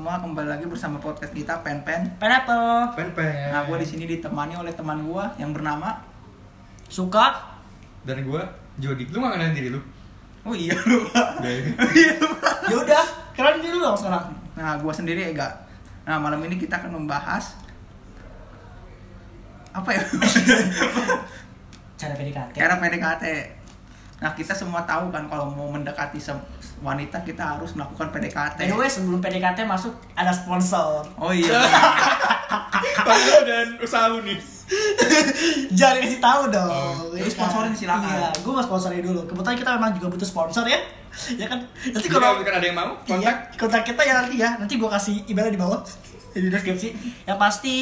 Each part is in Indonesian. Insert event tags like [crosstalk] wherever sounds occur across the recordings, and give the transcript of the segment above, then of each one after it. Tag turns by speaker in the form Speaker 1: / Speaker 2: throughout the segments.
Speaker 1: lagi bersama podcast kita Pen Pen.
Speaker 2: Pineapple
Speaker 3: Pempek.
Speaker 1: Nah, gue di sini ditemani oleh teman gue yang bernama.
Speaker 2: suka
Speaker 3: Dan gue Jody. Lu nggak kenalin diri lu?
Speaker 1: Oh iya [laughs] lupa.
Speaker 3: Gak.
Speaker 1: Iya, lupa.
Speaker 2: [laughs] yaudah kalian dulu dong sekarang
Speaker 1: nah, gue sendiri Ega. Nah, malam ini kita akan membahas apa ya? [laughs]
Speaker 2: cara PDKT
Speaker 1: Cara PDKT. Nah, kita semua tahu kan kalau mau mendekati sem- wanita kita harus melakukan PDKT.
Speaker 2: by the way sebelum PDKT masuk ada sponsor
Speaker 1: Oh iya.
Speaker 3: Pasti dan usaha lu nih.
Speaker 2: jangan kasih tahu dong kan?
Speaker 3: Oh,
Speaker 1: ya sponsorin silakan.
Speaker 2: iya gue mau sponsorin dulu kebetulan kita memang juga butuh sponsor ya [laughs] ya kan nanti
Speaker 3: Jika
Speaker 2: kalau
Speaker 3: bukan ada yang mau,
Speaker 2: Iya,
Speaker 3: kontak.
Speaker 2: kontak kita ya nanti ya. Nanti gua kasih emailnya di bawah [laughs] di deskripsi. Yang pasti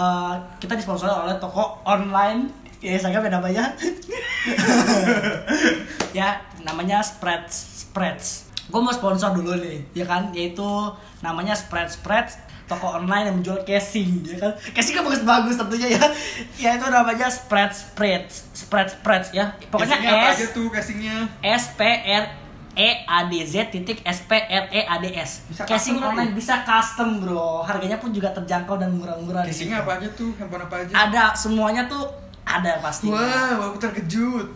Speaker 2: eh, kita disponsori oleh toko online ya Instagram ada namanya. [laughs] ya namanya Spreads Spreads. Gua mau sponsor dulu nih, ya kan? Yaitu namanya Spreads Spreads toko online yang menjual casing ya kan casing kan bagus-bagus tentunya ya ya itu namanya spread spread spread spread ya pokoknya
Speaker 3: Casingnya apa
Speaker 2: S
Speaker 3: aja tuh casingnya?
Speaker 2: S P R E A D Z titik S P R E A D S.
Speaker 1: Bisa
Speaker 2: Casing
Speaker 1: custom kan,
Speaker 2: online
Speaker 1: ya?
Speaker 2: bisa custom bro, harganya pun juga terjangkau dan murah-murah. gitu.
Speaker 3: Casingnya apa aja tuh? Handphone apa aja?
Speaker 2: Ada semuanya tuh ada pasti.
Speaker 3: Wah, aku terkejut.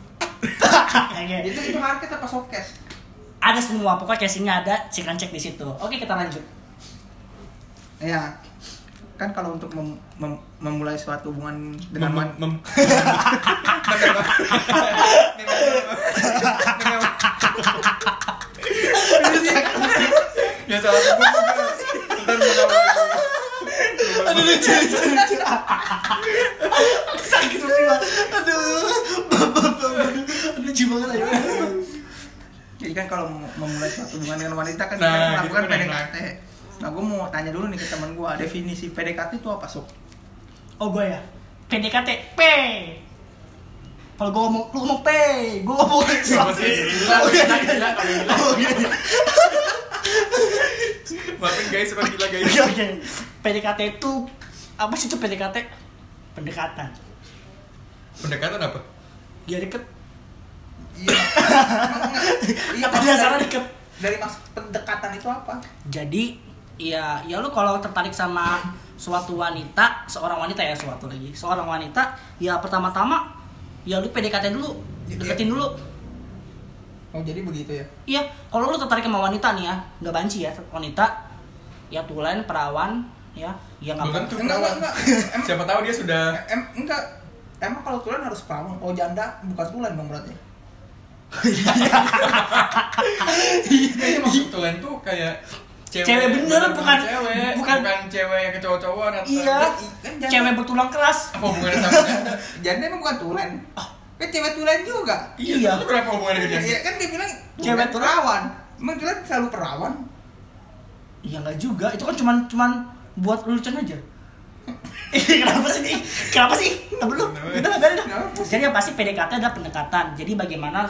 Speaker 2: [laughs] Oke.
Speaker 1: [laughs] itu itu market apa showcase?
Speaker 2: ada semua, pokoknya casingnya ada, cek cek di situ. Oke kita
Speaker 3: [laughs]
Speaker 2: lanjut.
Speaker 1: Ya. Kan kalau untuk mem- mem- memulai suatu hubungan dengan
Speaker 3: Mem-
Speaker 1: wanita
Speaker 3: mem- Ya salah sebut juga. Ntar mau
Speaker 2: Aduh lucu lucu lucu. Sakit hati gua. Aduh. Lucu banget aja.
Speaker 1: Jadi kan kalau mau memulai suatu hubungan dengan wanita kan
Speaker 3: Nah,
Speaker 1: kita
Speaker 3: gitu
Speaker 1: melakukan
Speaker 3: benar,
Speaker 1: PDKT. Nah, gue mau tanya dulu nih ke teman gue, definisi PDKT itu apa, Sob?
Speaker 2: Oh gue ya. PDKT P. Kalau gue ngomong, lu ngomong P, gue ngomong [laughs]
Speaker 3: Gak Iya, pasti gila,
Speaker 2: Oh, iya, iya,
Speaker 3: gila, kalau
Speaker 2: iya.
Speaker 3: gila.
Speaker 2: Oh, iya, iya.
Speaker 3: Maafin guys, suka gila guys.
Speaker 2: Oke, oke. PDKT itu apa sih itu PDKT? Pendekatan.
Speaker 3: Pendekatan apa?
Speaker 2: Dia deket.
Speaker 1: Iya.
Speaker 2: Iya, penasaran deket.
Speaker 1: Dari maksud pendekatan itu apa?
Speaker 2: Jadi, ya, ya lu kalau tertarik sama suatu wanita, seorang wanita ya suatu lagi, seorang wanita, ya pertama-tama, ya lu PDKT dulu, deketin dulu,
Speaker 1: Oh, jadi begitu ya.
Speaker 2: Iya, kalau lu tertarik sama wanita nih ya, nggak banci ya, wanita, ya tulen, perawan, ya, ya nggak
Speaker 3: Bukan
Speaker 2: apa-
Speaker 3: tuh
Speaker 1: Enggak, enggak,
Speaker 3: perawan.
Speaker 1: enggak. Em-
Speaker 3: [laughs] Siapa tahu dia sudah
Speaker 1: em, enggak. Emang kalau tulen harus perawan, kalau janda bukan tulen dong berarti.
Speaker 3: Kayaknya maksud tulen tuh kayak
Speaker 2: Cewek bener, bukan-
Speaker 3: cewek, bukan,
Speaker 2: bukan-
Speaker 3: cewek yang kecowok-cowokan atau
Speaker 2: Iya,
Speaker 1: i- kan janda.
Speaker 2: cewek bertulang keras.
Speaker 3: apa hubungannya sama janda?
Speaker 1: Janda emang bukan tulen. Kan cewek tulen juga.
Speaker 2: Iya.
Speaker 3: Itu berapa hubungannya dengan janda?
Speaker 1: Iya, kan dia bilang
Speaker 2: Cewek
Speaker 1: bukan perawan. Emang tulen selalu perawan?
Speaker 2: Iya nggak juga, itu kan cuman cuman buat lucu aja. [laughs] Ih, kenapa sih nih? Kenapa sih? Tapi lu, udah udah udah.
Speaker 1: Kenapa sih?
Speaker 2: Jadi yang pasti PDKT adalah pendekatan. Jadi bagaimana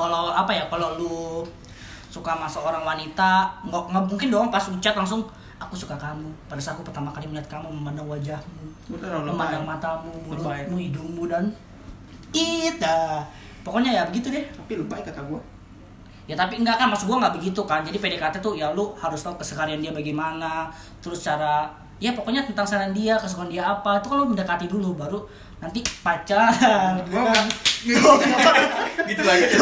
Speaker 2: kalau apa ya kalau lu suka sama seorang wanita nggak nggak mungkin dong pas lu chat langsung aku suka kamu pada saat aku pertama kali melihat kamu memandang wajahmu
Speaker 1: Udah dong,
Speaker 2: memandang matamu,
Speaker 1: Oh, Lebay.
Speaker 2: mulutmu, hidungmu dan kita. Pokoknya ya begitu deh.
Speaker 1: Tapi lebay kata gue.
Speaker 2: Ya tapi enggak kan maksud gua enggak begitu kan. Jadi PDKT tuh ya lu harus tahu kesekarian dia bagaimana, terus cara ya pokoknya tentang saran dia, kesukaan dia apa. Itu kalau mendekati dulu baru nanti pacar.
Speaker 1: Gua [laughs]
Speaker 2: kan.
Speaker 3: Gitu lagi ya.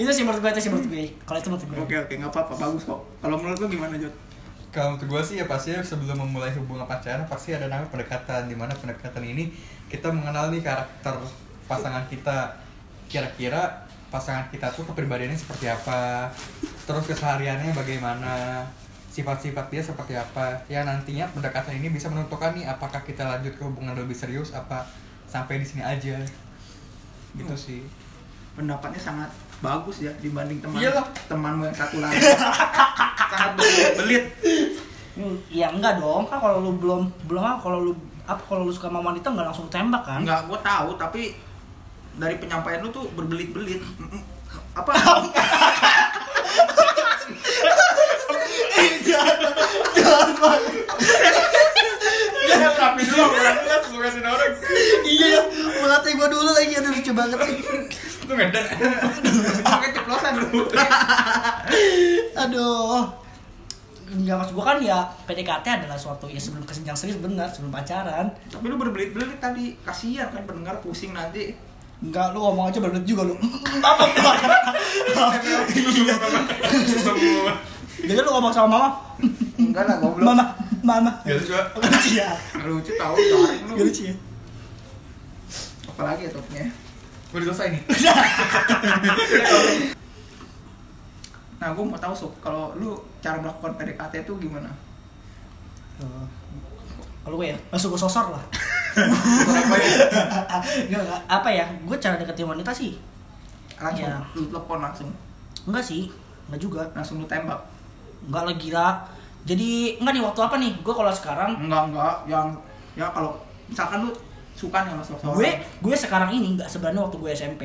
Speaker 2: itu sih menurut gue, itu sih menurut gue. Kalau itu menurut gue.
Speaker 1: Oke oke nggak apa-apa bagus kok. Kalau menurut lu gimana Jod?
Speaker 3: Kalau untuk gue sih ya pasti sebelum memulai hubungan pacaran pasti ada namanya pendekatan Dimana pendekatan ini kita mengenal nih karakter pasangan kita Kira-kira pasangan kita tuh kepribadiannya seperti apa Terus kesehariannya bagaimana Sifat-sifat dia seperti apa Ya nantinya pendekatan ini bisa menentukan nih apakah kita lanjut ke hubungan lebih serius Apa sampai di sini aja Gitu sih
Speaker 1: Pendapatnya sangat bagus ya dibanding teman
Speaker 3: Iyalah.
Speaker 1: temanmu yang satu
Speaker 3: [laughs]
Speaker 1: lagi. sangat belit. belit.
Speaker 2: Hmm, Ya enggak dong, kan kalau lu belum belum apa, kalau lu apa kalau lu suka sama wanita enggak langsung tembak kan?
Speaker 1: Enggak, gua tahu tapi dari penyampaian lu tuh berbelit-belit. Mm-mm. Apa?
Speaker 3: Jangan rapi dulu, lu kasih orang
Speaker 2: iya, melatih gua dulu lagi aduh lucu banget.
Speaker 3: Lu ngedar
Speaker 1: Pakai ceplosan dulu.
Speaker 2: Aduh. Enggak maksud gua kan ya PDKT adalah suatu ya sebelum kesenjang serius benar, sebelum pacaran.
Speaker 1: Tapi lu berbelit-belit tadi, kasihan kan pendengar pusing nanti.
Speaker 2: Enggak, lu ngomong aja berbelit juga lu. [laughs] Apa keluar? Jadi lu ngomong sama mama,
Speaker 1: Enggak lah, goblok.
Speaker 2: mama, mama.
Speaker 3: Gak lucu ah.
Speaker 2: Gak lucu ya?
Speaker 1: Nggak Lucu tahu tarik lu.
Speaker 2: Gak lucu ya?
Speaker 1: Apalagi ya topnya.
Speaker 3: Udah selesai nih.
Speaker 1: Nah, gue mau tahu sob, kalau lu cara melakukan PDKT itu gimana?
Speaker 2: Tuh. Kalau gue ya, langsung gue sosor lah.
Speaker 3: Kenapa ya?
Speaker 2: Enggak, enggak. Apa ya? Gue cara deketin wanita sih.
Speaker 1: Langsung
Speaker 2: Iya.
Speaker 1: lu telepon langsung,
Speaker 2: Enggak sih, enggak juga.
Speaker 1: langsung lu tembak.
Speaker 2: Enggak lah gila. Jadi enggak nih waktu apa nih? Gue kalau sekarang
Speaker 1: Enggak, enggak, yang ya kalau misalkan lu suka nih sama sosok
Speaker 2: gue gue sekarang ini nggak sebenarnya waktu gue SMP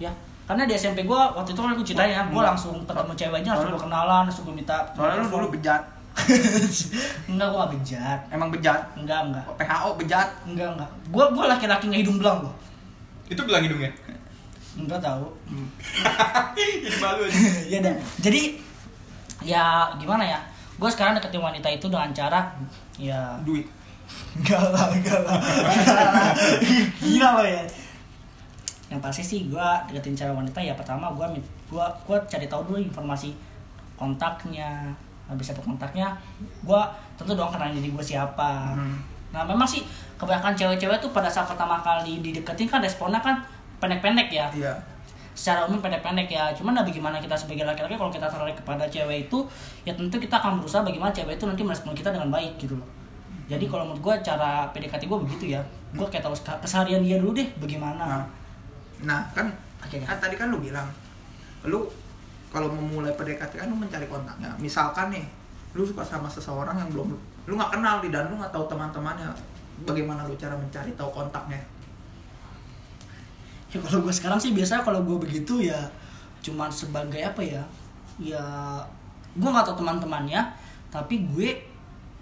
Speaker 2: ya karena di SMP gue waktu itu kan gue ceritain ya gue
Speaker 1: Enggak.
Speaker 2: langsung ketemu ceweknya langsung
Speaker 1: Soalnya-
Speaker 2: gue kenalan langsung gue minta
Speaker 1: Soalnya lu dulu bejat,
Speaker 2: enggak gue gak bejat
Speaker 1: emang bejat.
Speaker 2: enggak enggak
Speaker 1: PHO bejat.
Speaker 2: enggak enggak gue gue laki-laki nggak hidung belang gue
Speaker 3: Itu bilang hidungnya.
Speaker 2: enggak tahu [laughs]
Speaker 3: Ini malu aja.
Speaker 2: ya dah jadi ya gimana ya gue sekarang deketin wanita itu dengan cara ya
Speaker 1: [laughs] Duit.
Speaker 2: [laughs] Enggak lah, enggak lah. Enggak lah. [laughs] Gila lo ya. Yang pasti sih gua deketin cara wanita ya pertama gua min- gua gua cari tahu dulu informasi kontaknya. Habis dapet kontaknya, gua tentu dong kenalin diri gua siapa.
Speaker 1: Hmm.
Speaker 2: Nah, memang sih kebanyakan cewek-cewek tuh pada saat pertama kali dideketin kan responnya kan pendek-pendek ya
Speaker 1: Iya.
Speaker 2: secara umum pendek-pendek ya cuman nah bagaimana kita sebagai laki-laki kalau kita tertarik kepada cewek itu ya tentu kita akan berusaha bagaimana cewek itu nanti merespon kita dengan baik gitu loh jadi kalau menurut gue cara PDKT gue begitu ya gue kayak tahu seka- keseharian dia dulu deh
Speaker 1: Nah,
Speaker 2: bagaimana
Speaker 1: nah kan,
Speaker 2: Oke,
Speaker 1: kan tadi kan lu bilang, lu kalau memulai PDKT kan lu mencari kontaknya. Misalkan nih, lu suka sama seseorang yang belum lu nggak kenal di dan lu nggak tahu teman-temannya. Bagaimana lu cara mencari tahu kontaknya?
Speaker 2: ya kalau gue sekarang sih biasanya kalau gue begitu ya cuman sebagai apa ya ya gue nggak tahu teman-temannya tapi gue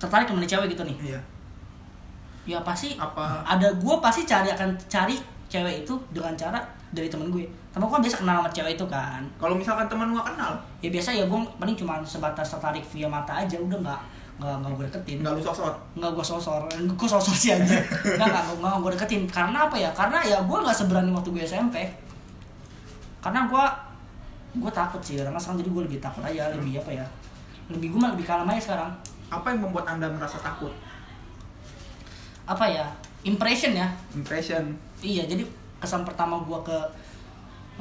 Speaker 2: tertarik sama nih cewek gitu nih
Speaker 1: Iya.
Speaker 2: ya pasti
Speaker 1: Apa?
Speaker 2: ada gue pasti cari akan cari cewek itu dengan cara dari temen gue temen gue kan biasa kenal sama cewek itu kan
Speaker 1: Kalau misalkan teman lu nggak kenal,
Speaker 2: ya biasa ya gue paling cuma sebatas tertarik via mata aja udah nggak nggak nggak gue deketin
Speaker 1: nggak lu sosot.
Speaker 2: nggak gue sosor [laughs] gue sosor sih aja nggak nggak nggak- nggak gue deketin karena apa ya karena ya gue nggak seberani waktu gue SMP karena gue gue takut sih karena sekarang jadi gue lebih takut aja lebih apa ya lebih gue mah lebih kalem aja sekarang
Speaker 1: Apa yang membuat anda merasa takut?
Speaker 2: apa ya impression ya
Speaker 1: Impression,
Speaker 2: Iya, jadi kesan pertama gua ke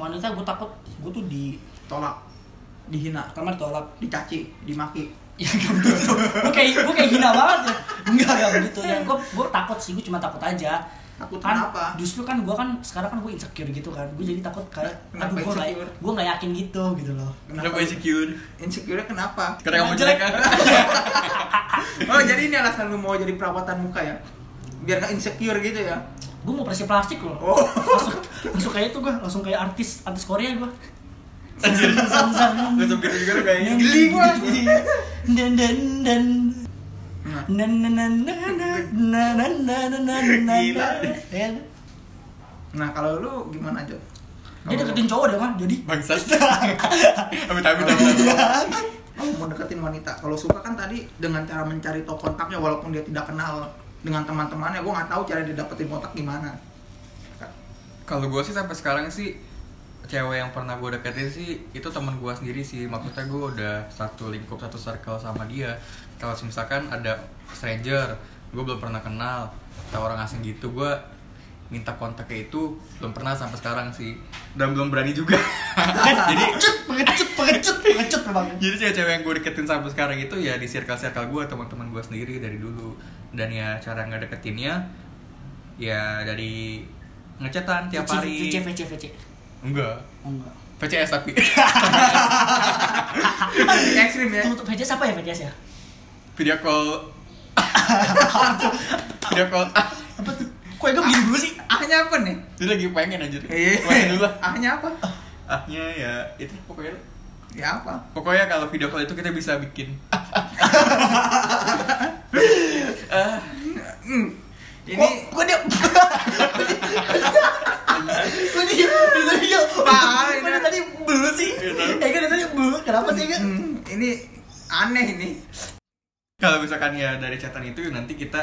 Speaker 2: wanita gua takut gua tuh di
Speaker 1: tolak, dihina,
Speaker 2: kamar tolak. [laughs]
Speaker 1: dicaci, dimaki.
Speaker 2: Ya gak begitu. Gua kayak gua kayak hina banget ya. Enggak, enggak begitu ya. Gua gua takut sih, gua cuma takut aja.
Speaker 1: Takut
Speaker 2: kan,
Speaker 1: kenapa?
Speaker 2: Justru kan gua kan sekarang kan gua insecure gitu kan. Gua jadi takut kayak
Speaker 1: [laughs] Kenapa
Speaker 2: aduh gua nggak-
Speaker 1: insecure?
Speaker 2: gua nggak yakin gitu gitu loh.
Speaker 3: Kenapa insecure?
Speaker 1: Insecure kenapa?
Speaker 3: Karena kamu jelek kan?
Speaker 1: Oh jadi ini alasan lu mau jadi perawatan muka ya? Biar nggak insecure gitu ya?
Speaker 2: Gua mau bersih plastik loh.
Speaker 1: Oh.
Speaker 2: Langsung, langsung kayak itu gua, langsung kayak artis artis Korea gua. Anjir, sang-sang.
Speaker 3: Gak sempit juga lu kayaknya.
Speaker 1: Geli gua.
Speaker 2: Dan dan dan
Speaker 1: Nah,
Speaker 2: na na na na na na na na na na na
Speaker 3: Gila.
Speaker 2: Ya.
Speaker 1: nah kalau lu gimana Jo?
Speaker 2: dia deketin cowok deh mah jadi
Speaker 3: Bangsat. [laughs] Amit amit amit. amit.
Speaker 1: Kalau Iya. mau deketin wanita, kalau suka kan tadi dengan cara mencari tahu kontaknya walaupun dia tidak kenal dengan teman-temannya, gua nggak tahu cara dia dapetin kontak gimana.
Speaker 3: Kalau gue sih sampai sekarang sih cewek yang pernah gue deketin sih itu teman gue sendiri sih maksudnya gue udah satu lingkup satu circle sama dia kalau misalkan ada stranger gue belum pernah kenal atau orang asing gitu gue minta kontaknya itu belum pernah sampai sekarang sih dan belum berani juga [laughs]
Speaker 2: Kan, jadi
Speaker 3: jadi
Speaker 2: cut pengecut pengecut pengecut bang
Speaker 3: jadi cewek-cewek yang gue deketin sampai sekarang itu ya di circle-circle gue teman-teman gue sendiri dari dulu dan ya cara ngedeketinnya ya dari ngecatan tiap hari
Speaker 2: VC VC VC
Speaker 3: enggak
Speaker 2: oh enggak
Speaker 3: PCS tapi [laughs]
Speaker 1: Lebih ekstrim ya.
Speaker 2: untuk VC siapa ya VCS ya
Speaker 3: video call
Speaker 2: [laughs]
Speaker 3: video call ah,
Speaker 2: kok enggak begini dulu sih
Speaker 1: Ah, Ahnya apa nih?
Speaker 3: itu lagi pengen anjir pengen
Speaker 1: Iya.
Speaker 3: dulu lah
Speaker 1: Ahnya apa?
Speaker 3: ahnya ya itu pokoknya
Speaker 1: Ya apa?
Speaker 3: pokoknya kalau video call itu kita bisa bikin [laughs]
Speaker 1: Hmm.
Speaker 2: ini
Speaker 1: Ini
Speaker 2: gua dia gua dia gua dia
Speaker 1: Parah ini.
Speaker 2: gua dia Iya, ya.
Speaker 1: Hmm, ini aneh ini.
Speaker 3: Kalau misalkan ya dari catatan itu nanti kita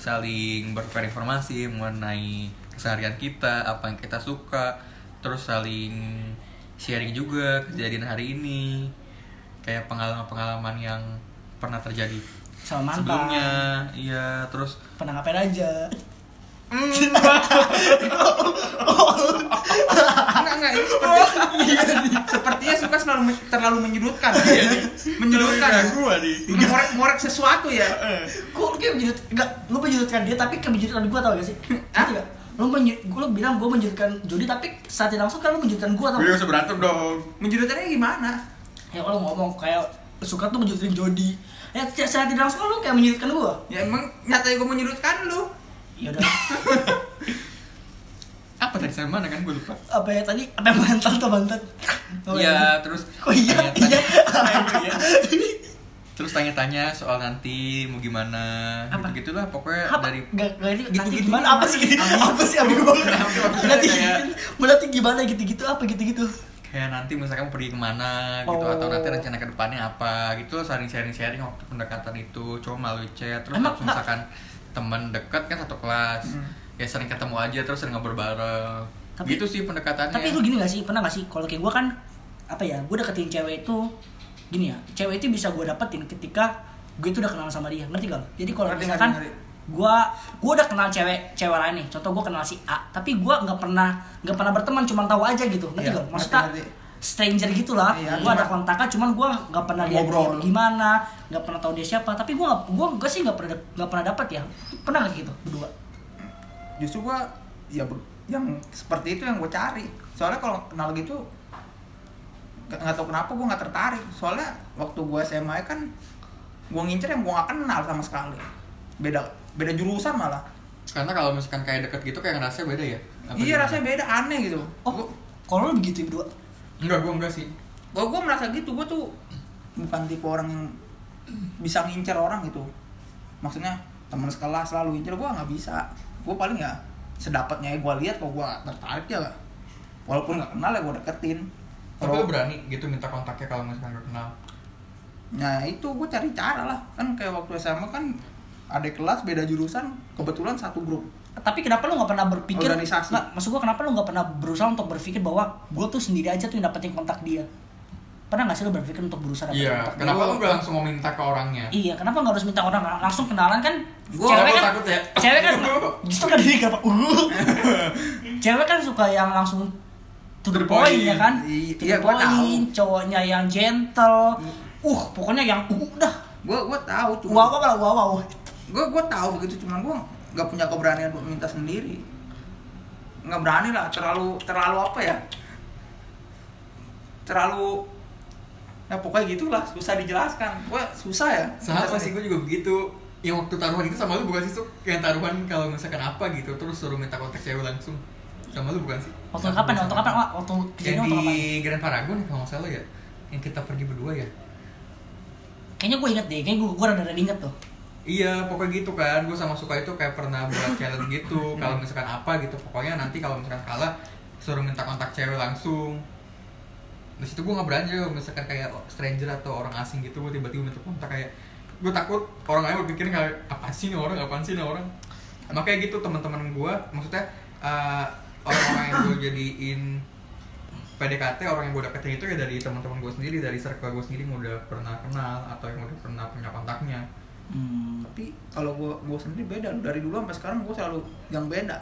Speaker 3: saling bertukar informasi mengenai keseharian kita, apa yang kita suka, terus saling sharing juga kejadian hari ini, kayak pengalaman-pengalaman yang pernah terjadi
Speaker 2: Sama mantan.
Speaker 3: sebelumnya, iya terus
Speaker 2: Pernah ngapain aja?
Speaker 1: Enggak enggak ini sepertinya, sepertinya suka selalu men- terlalu menyudutkan. ya. menyudutkan.
Speaker 3: Nah, gua nih.
Speaker 1: Mengorek-ngorek sesuatu ya.
Speaker 2: Kok lu kayak menyudut, enggak, lu menyudutkan dia tapi kemenyudutkan gua tau gak sih? Hah? Enggak. Lu menyu- lu bilang gua menyudutkan Jody tapi saat tidak langsung kan lu menyudutkan gua tau.
Speaker 3: Gue bisa berantem dong.
Speaker 1: Menyudutkannya gimana?
Speaker 2: Ya kalau ngomong kayak suka tuh menyudutkan Jody. Ya saat tidak langsung kan lu kayak menyudutkan gua.
Speaker 1: Ya emang nyatanya gue menyudutkan lu.
Speaker 2: Ya
Speaker 3: [laughs]
Speaker 2: udah.
Speaker 3: Apa tadi saya mana kan gue lupa.
Speaker 2: apa ya tadi? Apa yang mantan tuh mantan? Apa
Speaker 3: [laughs] Iya, terus
Speaker 2: Oh iya, [laughs]
Speaker 3: tanya-tanya. ya.
Speaker 2: iya.
Speaker 3: Terus tanya-tanya soal nanti mau gimana.
Speaker 2: Apa?
Speaker 3: Gitu-gitulah pokoknya
Speaker 2: apa
Speaker 3: dari
Speaker 2: nggak nggak itu
Speaker 1: Gitu-gitu
Speaker 2: nanti gimana apa sih gini apa sih abis banget nanti
Speaker 3: kayak-
Speaker 2: nanti gimana gitu gitu apa gitu gitu
Speaker 3: kayak nanti misalkan pergi kemana gitu
Speaker 2: Oh.
Speaker 3: atau nanti rencana ke depannya apa gitu saling sharing sharing waktu pendekatan itu cuma melalui chat terus
Speaker 2: Emang
Speaker 3: waktu
Speaker 2: nggak- Hmm.
Speaker 3: misalkan teman dekat kan satu kelas ya sering ketemu aja terus sering ngobrol bareng
Speaker 2: Tapi-
Speaker 3: gitu sih pendekatannya
Speaker 2: tapi
Speaker 1: Iya.
Speaker 2: lu gini gak sih pernah gak sih kalau kayak gue kan apa ya gue deketin cewek itu gini ya cewek itu bisa gue dapetin ketika gue itu udah kenal sama dia ngerti gak lu? jadi kalau
Speaker 1: Ngerti,
Speaker 2: misalkan
Speaker 1: ngerti,
Speaker 2: gue gue udah kenal cewek cewek lain nih contoh gue kenal si A tapi gue nggak pernah nggak pernah berteman cuma tahu aja gitu ngerti
Speaker 1: Iya,
Speaker 2: gak lu? maksudnya
Speaker 1: ngerti, ngerti.
Speaker 2: stranger gitulah
Speaker 1: Iya,
Speaker 2: gue ada
Speaker 1: cuma-
Speaker 2: kontaknya cuman gue nggak pernah lihat dia
Speaker 1: Ngobrol.
Speaker 2: gimana nggak pernah tahu dia siapa tapi gue gue gue sih nggak pernah nggak pernah dapet ya pernah gak gitu berdua
Speaker 1: Justru gue ya be- yang seperti itu yang gue cari. Soalnya kalau kenal gitu nggak nggak tahu kenapa gue nggak tertarik. Soalnya waktu gue SMA kan gue ngincer yang gue nggak kenal sama sekali. Beda beda jurusan malah.
Speaker 3: karena kalau misalkan kayak deket gitu kayak ngerasa beda ya Apa
Speaker 1: iya
Speaker 3: gimana?
Speaker 1: rasanya beda aneh gitu.
Speaker 2: oh kalau lu begitu ya berdua
Speaker 3: enggak gua enggak sih
Speaker 1: gue gue merasa gitu gue tuh bukan tipe orang yang bisa ngincer orang gitu maksudnya teman sekelas selalu ngincer gue nggak bisa gue paling ya sedapatnya gue lihat kok gue tertarik ya lah walaupun nggak kenal ya gue deketin
Speaker 3: tapi
Speaker 1: Kalau-
Speaker 3: lu berani gitu minta kontaknya kalau misalkan gak kenal
Speaker 1: nah itu gue cari cara lah kan kayak waktu SMA kan ada kelas beda jurusan kebetulan satu grup
Speaker 2: tapi kenapa lu nggak pernah berpikir
Speaker 1: Organisasi.
Speaker 2: nggak, maksud gua kenapa lu nggak pernah berusaha untuk berpikir bahwa gue tuh sendiri aja tuh yang dapetin kontak dia pernah nggak sih lu berpikir untuk berusaha dapetin
Speaker 3: iya
Speaker 2: kontak
Speaker 3: kenapa
Speaker 1: gua-
Speaker 3: lu gak langsung mau minta ke orangnya
Speaker 2: iya kenapa nggak harus minta orang langsung kenalan kan
Speaker 1: Gua-
Speaker 2: cewek
Speaker 3: gua
Speaker 2: kan
Speaker 3: takut ya.
Speaker 2: cewek
Speaker 1: [laughs]
Speaker 2: kan justru kan dia apa uh cewek kan suka yang langsung to the
Speaker 3: To the
Speaker 2: point,
Speaker 3: point.
Speaker 2: ya kan
Speaker 1: I-
Speaker 2: to
Speaker 1: iya,
Speaker 2: the
Speaker 1: gua
Speaker 2: point
Speaker 1: tahu. Mm.
Speaker 2: cowoknya yang gentle uh pokoknya yang uh dah
Speaker 1: gue gue tahu
Speaker 2: wow
Speaker 1: cuma
Speaker 2: wow wow wow
Speaker 1: gue gue tahu begitu cuman gue nggak punya keberanian buat minta sendiri nggak berani lah terlalu terlalu apa ya terlalu ya pokoknya gitulah susah dijelaskan gue susah ya
Speaker 3: Sama sih gue juga begitu yang waktu taruhan itu sama lu bukan sih tuh yang taruhan kalau misalkan apa gitu terus suruh minta kontak cewek langsung sama lu bukan sih
Speaker 2: waktu
Speaker 1: Iya,
Speaker 2: kapan waktu kapan Wak? waktu
Speaker 3: yang
Speaker 2: kejadian waktu kapan
Speaker 3: di Grand Paragon ya, kalau nggak salah ya yang kita pergi berdua ya
Speaker 2: Kayaknya gue inget deh, kayaknya gue, gue rada-rada inget tuh
Speaker 3: Iya, pokoknya gitu kan. Gue sama suka itu kayak pernah buat challenge gitu. Kalau misalkan apa gitu, pokoknya nanti kalau misalkan kalah suruh minta kontak cewek langsung. Di situ gue nggak berani kalau misalkan kayak stranger atau orang asing gitu, gue tiba-tiba minta kontak kayak gue takut orang lain berpikir kayak apa sih nih orang, apaan sih nih orang. Makanya gitu teman-teman gue, maksudnya eh, orang-orang yang gue jadiin PDKT orang yang gue deketin itu ya dari teman-teman gue sendiri, dari circle gue sendiri yang udah pernah kenal atau yang udah pernah punya kontaknya.
Speaker 2: Hmm.
Speaker 1: tapi kalau gue gue sendiri beda Lu dari dulu sampai sekarang gue selalu yang beda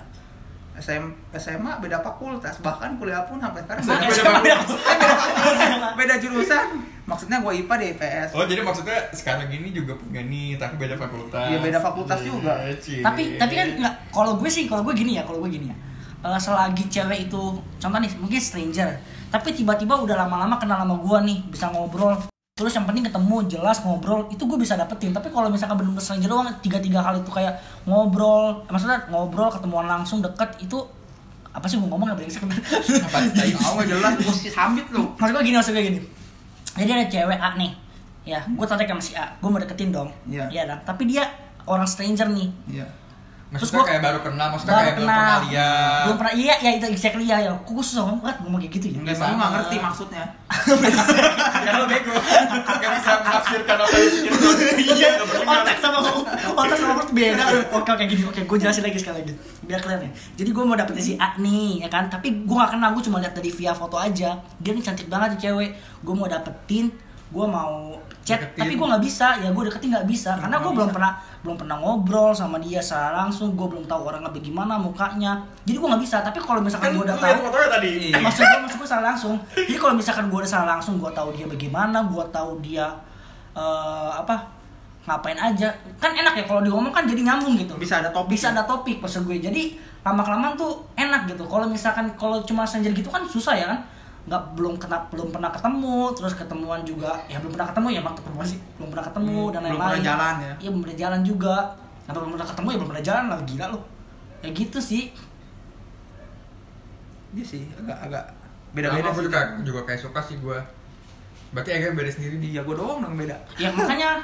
Speaker 1: SM, SMA beda fakultas bahkan kuliah pun sampai sekarang
Speaker 3: Saya
Speaker 1: beda,
Speaker 3: beda
Speaker 1: [laughs] beda jurusan maksudnya gue IPA di IPS
Speaker 3: Oh jadi maksudnya sekarang ini juga punya nih tapi beda fakultas.
Speaker 1: Iya, beda fakultas juga.
Speaker 3: cie.
Speaker 2: Tapi tapi kan nggak, kalau gue sih, kalau gue gini ya, kalau gue gini ya Eh, Selagi cewek itu, contoh nih, mungkin stranger Tapi tiba-tiba udah lama-lama kenal sama gue nih, bisa ngobrol Terus yang penting ketemu, jelas ngobrol, itu gue bisa dapetin Tapi kalau misalkan belum stranger doang, tiga-tiga hal itu kayak ngobrol eh, Maksudnya ngobrol, ketemuan langsung, deket, itu apa sih gue ngomong gak [laughs] berisik bentar.
Speaker 3: apa sih? [laughs]
Speaker 1: tahu nggak jelas gue sambit lu
Speaker 2: maksud gue gini maksud gue gini jadi ada cewek A nih ya gue tertarik sama si A gue mau deketin dong
Speaker 1: Iya.
Speaker 2: dong tapi dia orang stranger nih
Speaker 1: iya
Speaker 2: gua-
Speaker 3: Maksudnya kayak baru kenal, maksudnya
Speaker 2: baru
Speaker 3: kayak belum pernah lihat.
Speaker 2: belum pernah iya ya itu exactly ya ya kok gue susah banget ngomong kayak gitu ya
Speaker 1: Enggak,
Speaker 3: Sama.
Speaker 1: gue nggak ngerti maksudnya.
Speaker 3: Ya lo bego. Gak bisa menafsirkan apa yang
Speaker 2: [laughs] iya otak sama otak sama perut beda oke oke gini oke gue jelasin lagi sekali lagi biar clear ya jadi gue mau dapetin si A nih ya kan tapi gue gak kenal gue cuma lihat dari via foto aja dia nih cantik banget tuh cewek gue mau dapetin gue mau chat
Speaker 3: Deketin.
Speaker 2: tapi gue nggak bisa ya gue deketin nggak bisa karena gue belum pernah belum pernah ngobrol sama dia secara langsung gue belum tahu orangnya bagaimana mukanya jadi gue nggak bisa tapi kalau misalkan gue Kan udah tahu
Speaker 3: Kan fotonya tadi.
Speaker 1: Iya.
Speaker 2: maksud gue maksud gue salah langsung jadi kalau misalkan gue udah salah langsung gue tahu dia bagaimana gue tahu dia eh, apa ngapain aja kan enak ya kalau diomong kan jadi nyambung gitu
Speaker 1: Bisa ada topik. ya.
Speaker 2: bisa ada topik maksud gue jadi lama kelamaan tuh enak gitu kalau misalkan kalau cuma senjir gitu kan susah ya kan nggak belum kena belum pernah ketemu terus ketemuan juga ya belum pernah ketemu ya mak ketemuan sih belum pernah ketemu
Speaker 1: Hmm,
Speaker 2: dan
Speaker 1: belum
Speaker 2: lain-lain
Speaker 1: pernah jalan ya.
Speaker 2: iya belum pernah jalan juga nah, belum pernah ketemu ya belum pernah jalan lah gila loh ya gitu sih
Speaker 1: Iya sih, agak-agak
Speaker 3: Beda-beda
Speaker 1: beda-beda
Speaker 3: sih.
Speaker 1: sih.
Speaker 3: Juga, juga kayak suka sih gue. Berarti agak beda sendiri di
Speaker 1: Iya, gue doang dong beda.
Speaker 2: ya makanya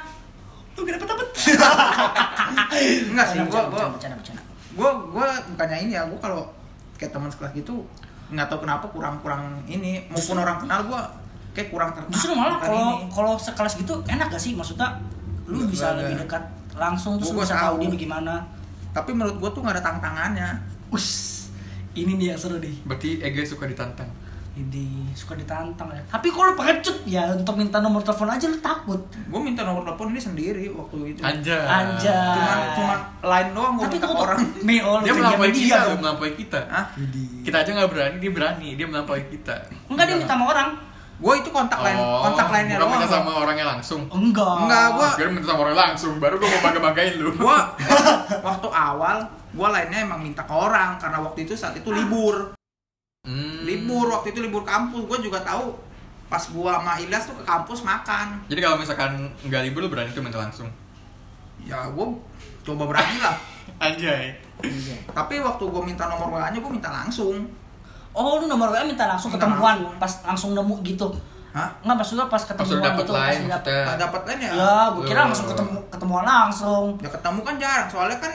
Speaker 2: tuh gak dapet dapet
Speaker 1: Enggak sih, gue gue
Speaker 2: bercanda bercanda
Speaker 1: gue gue bukannya ini ya, gue kalau kayak teman sekelas gitu nggak tahu kenapa kurang-kurang ini maupun orang kenal gue kayak kurang tertarik
Speaker 2: justru malah
Speaker 1: akan
Speaker 2: kalau
Speaker 1: ini.
Speaker 2: kalau sekelas gitu enak gak sih maksudnya lu
Speaker 1: Nggak,
Speaker 2: bisa
Speaker 1: nggak
Speaker 2: lebih
Speaker 1: ada.
Speaker 2: dekat langsung terus
Speaker 1: Gua
Speaker 2: lu bisa
Speaker 1: tahu.
Speaker 2: tahu dia bagaimana
Speaker 1: tapi menurut gue tuh nggak ada tantangannya
Speaker 2: us ini nih yang seru nih
Speaker 3: Berarti Ega suka ditantang.
Speaker 2: ini suka ditantang ya tapi kalau pengecut ya untuk minta nomor telepon aja lu takut
Speaker 1: gue minta nomor telepon ini sendiri waktu itu
Speaker 3: Anjay.
Speaker 2: Anjay.
Speaker 1: cuman cuman lain doang gue
Speaker 2: tapi
Speaker 1: minta
Speaker 2: kok
Speaker 1: ke orang
Speaker 2: meo oh, lu
Speaker 3: Dia
Speaker 2: jangan
Speaker 3: melampaui
Speaker 2: dia
Speaker 3: kita, loh,
Speaker 2: dong
Speaker 3: melampaui kita.
Speaker 1: Hah?
Speaker 3: Kita aja nggak berani, dia berani. Dia melampaui kita.
Speaker 2: enggak dia minta sama orang
Speaker 1: gue itu kontak lain
Speaker 3: Oh,
Speaker 1: kontak lainnya
Speaker 3: bukan minta
Speaker 1: doang
Speaker 3: sama orangnya langsung.
Speaker 2: enggak
Speaker 1: Enggak, gua-
Speaker 3: Gue minta sama orang langsung, baru gue mau bangga-banggain lu.
Speaker 1: gue eh, waktu awal gue lainnya emang minta ke orang karena waktu itu saat
Speaker 2: Ah.
Speaker 1: itu libur
Speaker 3: [laughs] Hmm.
Speaker 1: libur waktu itu libur kampus gue juga tahu pas gue sama Ilyas tuh ke kampus makan
Speaker 3: Jadi kalau misalkan nggak libur lu berani tuh minta langsung.
Speaker 1: ya gue coba berani lah
Speaker 3: Anjay.
Speaker 2: Iya.
Speaker 1: tapi waktu gue minta nomor WA nya gue minta langsung
Speaker 2: oh lu nomor wa minta langsung
Speaker 1: Minta
Speaker 2: ketemuan
Speaker 1: langsung.
Speaker 2: pas langsung nemu gitu
Speaker 1: hah
Speaker 2: Enggak maksudnya pas ketemuan
Speaker 3: Pas lu dapet
Speaker 2: gitu, pas lu
Speaker 3: lain,
Speaker 2: dapet-
Speaker 3: maksudnya.
Speaker 1: nggak dapat lain ya
Speaker 2: Ya, gue kira langsung
Speaker 3: Eh.
Speaker 2: ketemu ketemuan langsung.
Speaker 1: ya ketemu kan jarang soalnya kan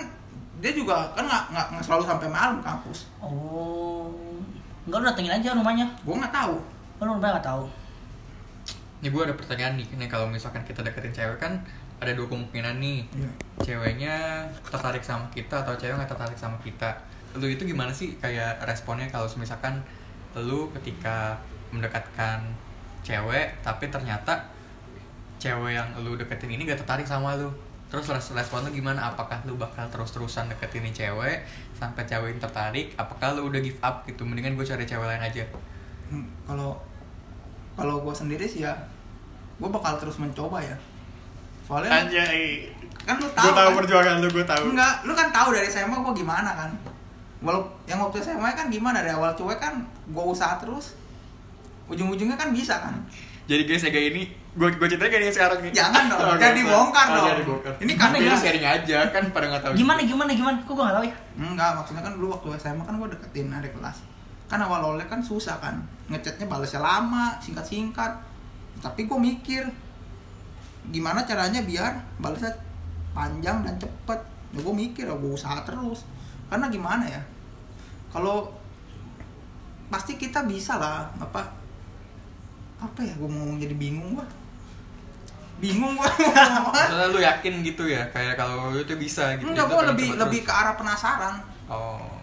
Speaker 1: dia juga kan nggak nggak nggak selalu sampai malam kampus
Speaker 2: Oh. Enggak lu datengin aja rumahnya.
Speaker 1: gue nggak tahu
Speaker 2: Oh, Lu rumahnya enggak tahu.
Speaker 3: Ini gue ada pertanyaan nih, nih kalau misalkan kita deketin cewek kan ada dua kemungkinan nih.
Speaker 1: Iya.
Speaker 3: Ceweknya tertarik sama kita atau cewek nggak tertarik sama kita. Lu itu gimana sih kayak responnya kalau misalkan lu ketika mendekatkan cewek tapi ternyata cewek yang lu deketin ini gak tertarik sama lu. Terus res- respon lu gimana? Apakah lu bakal terus-terusan deketin nih cewek sampai cewek yang tertarik? Apakah lu udah give up gitu? Mendingan gue cari cewek lain aja.
Speaker 1: Hmm, kalau kalau gue sendiri sih ya gue bakal terus mencoba ya soalnya
Speaker 3: Anjay.
Speaker 1: kan lu tahu
Speaker 3: Gue tahu
Speaker 1: kan?
Speaker 3: perjuangan lu, gue tahu.
Speaker 1: Enggak, lu kan tahu dari SMA gua gimana kan. Walau yang waktu SMA kan gimana dari awal cuek kan gua usaha terus. Ujung-ujungnya kan bisa kan.
Speaker 3: Jadi guys ya kayak ini gue gue ceritain kayak ini sekarang nih.
Speaker 1: Jangan dong,
Speaker 3: [laughs] Oh,
Speaker 1: jangan
Speaker 3: nggak
Speaker 1: dibongkar
Speaker 3: usah. Oh,
Speaker 1: dong.
Speaker 3: jangan dibongkar.
Speaker 1: Ini
Speaker 3: kan
Speaker 2: gimana
Speaker 3: ini
Speaker 2: ya?
Speaker 3: sharing aja kan pada nggak tahu.
Speaker 2: Gimana gimana gimana? Kok gua enggak tahu ya?
Speaker 1: Enggak, maksudnya kan dulu waktu SMA kan gua deketin adik kelas. Kan awal-awalnya kan susah kan. Ngechatnya balasnya lama, singkat-singkat. Tapi gua mikir gimana caranya biar balasnya panjang dan cepet. Ya gua mikir, ya gua usaha terus. Karena gimana ya? Kalau pasti kita bisa lah apa apa ya gua mau ngomong jadi bingung gua. Bingung gua. mau ngomong apa.
Speaker 3: Soalnya lu yakin gitu ya kayak kalau lu tuh bisa gitu.
Speaker 1: Enggak,
Speaker 3: Jadi lu
Speaker 1: gua
Speaker 3: pengen
Speaker 1: lebih
Speaker 3: coba
Speaker 1: lebih ke
Speaker 3: terus.
Speaker 1: arah penasaran.
Speaker 3: Oh.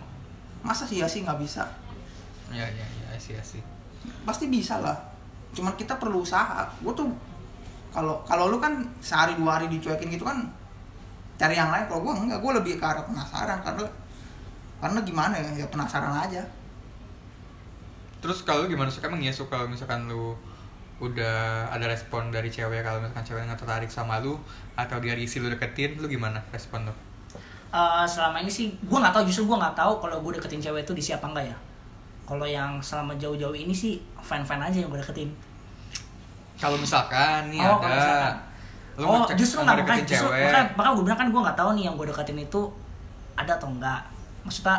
Speaker 1: Masa sih ya sih nggak bisa?
Speaker 3: Ya ya ya sih sih.
Speaker 1: pasti bisa lah cuman kita perlu usaha gue tuh kalau kalau lu kan sehari dua hari dicuekin gitu kan cari yang lain kalau gue enggak gue lebih ke arah penasaran karena karena gimana ya ya penasaran aja
Speaker 3: Terus kalau lu gimana suka emang ya suka kalau misalkan lu udah ada respon dari cewek kalau misalkan cewek nggak tertarik sama lu atau dia isi lu deketin lu gimana respon lu?
Speaker 2: Eh, selama ini sih gua nggak tahu justru gua nggak tahu kalau gua deketin cewek itu di siapa enggak ya. Kalau yang selama jauh-jauh ini sih fan-fan aja yang gua deketin.
Speaker 3: Kalau misalkan nih
Speaker 2: Oh, kalau
Speaker 3: ada
Speaker 2: misalkan.
Speaker 3: lu
Speaker 2: oh,
Speaker 3: ngecek
Speaker 2: justru
Speaker 3: mau
Speaker 2: nggak makanya
Speaker 1: eh,
Speaker 3: deketin
Speaker 2: justru
Speaker 3: cewek.
Speaker 2: makanya, makanya gue bilang kan gue nggak tahu nih yang gue deketin itu ada atau enggak. Maksudnya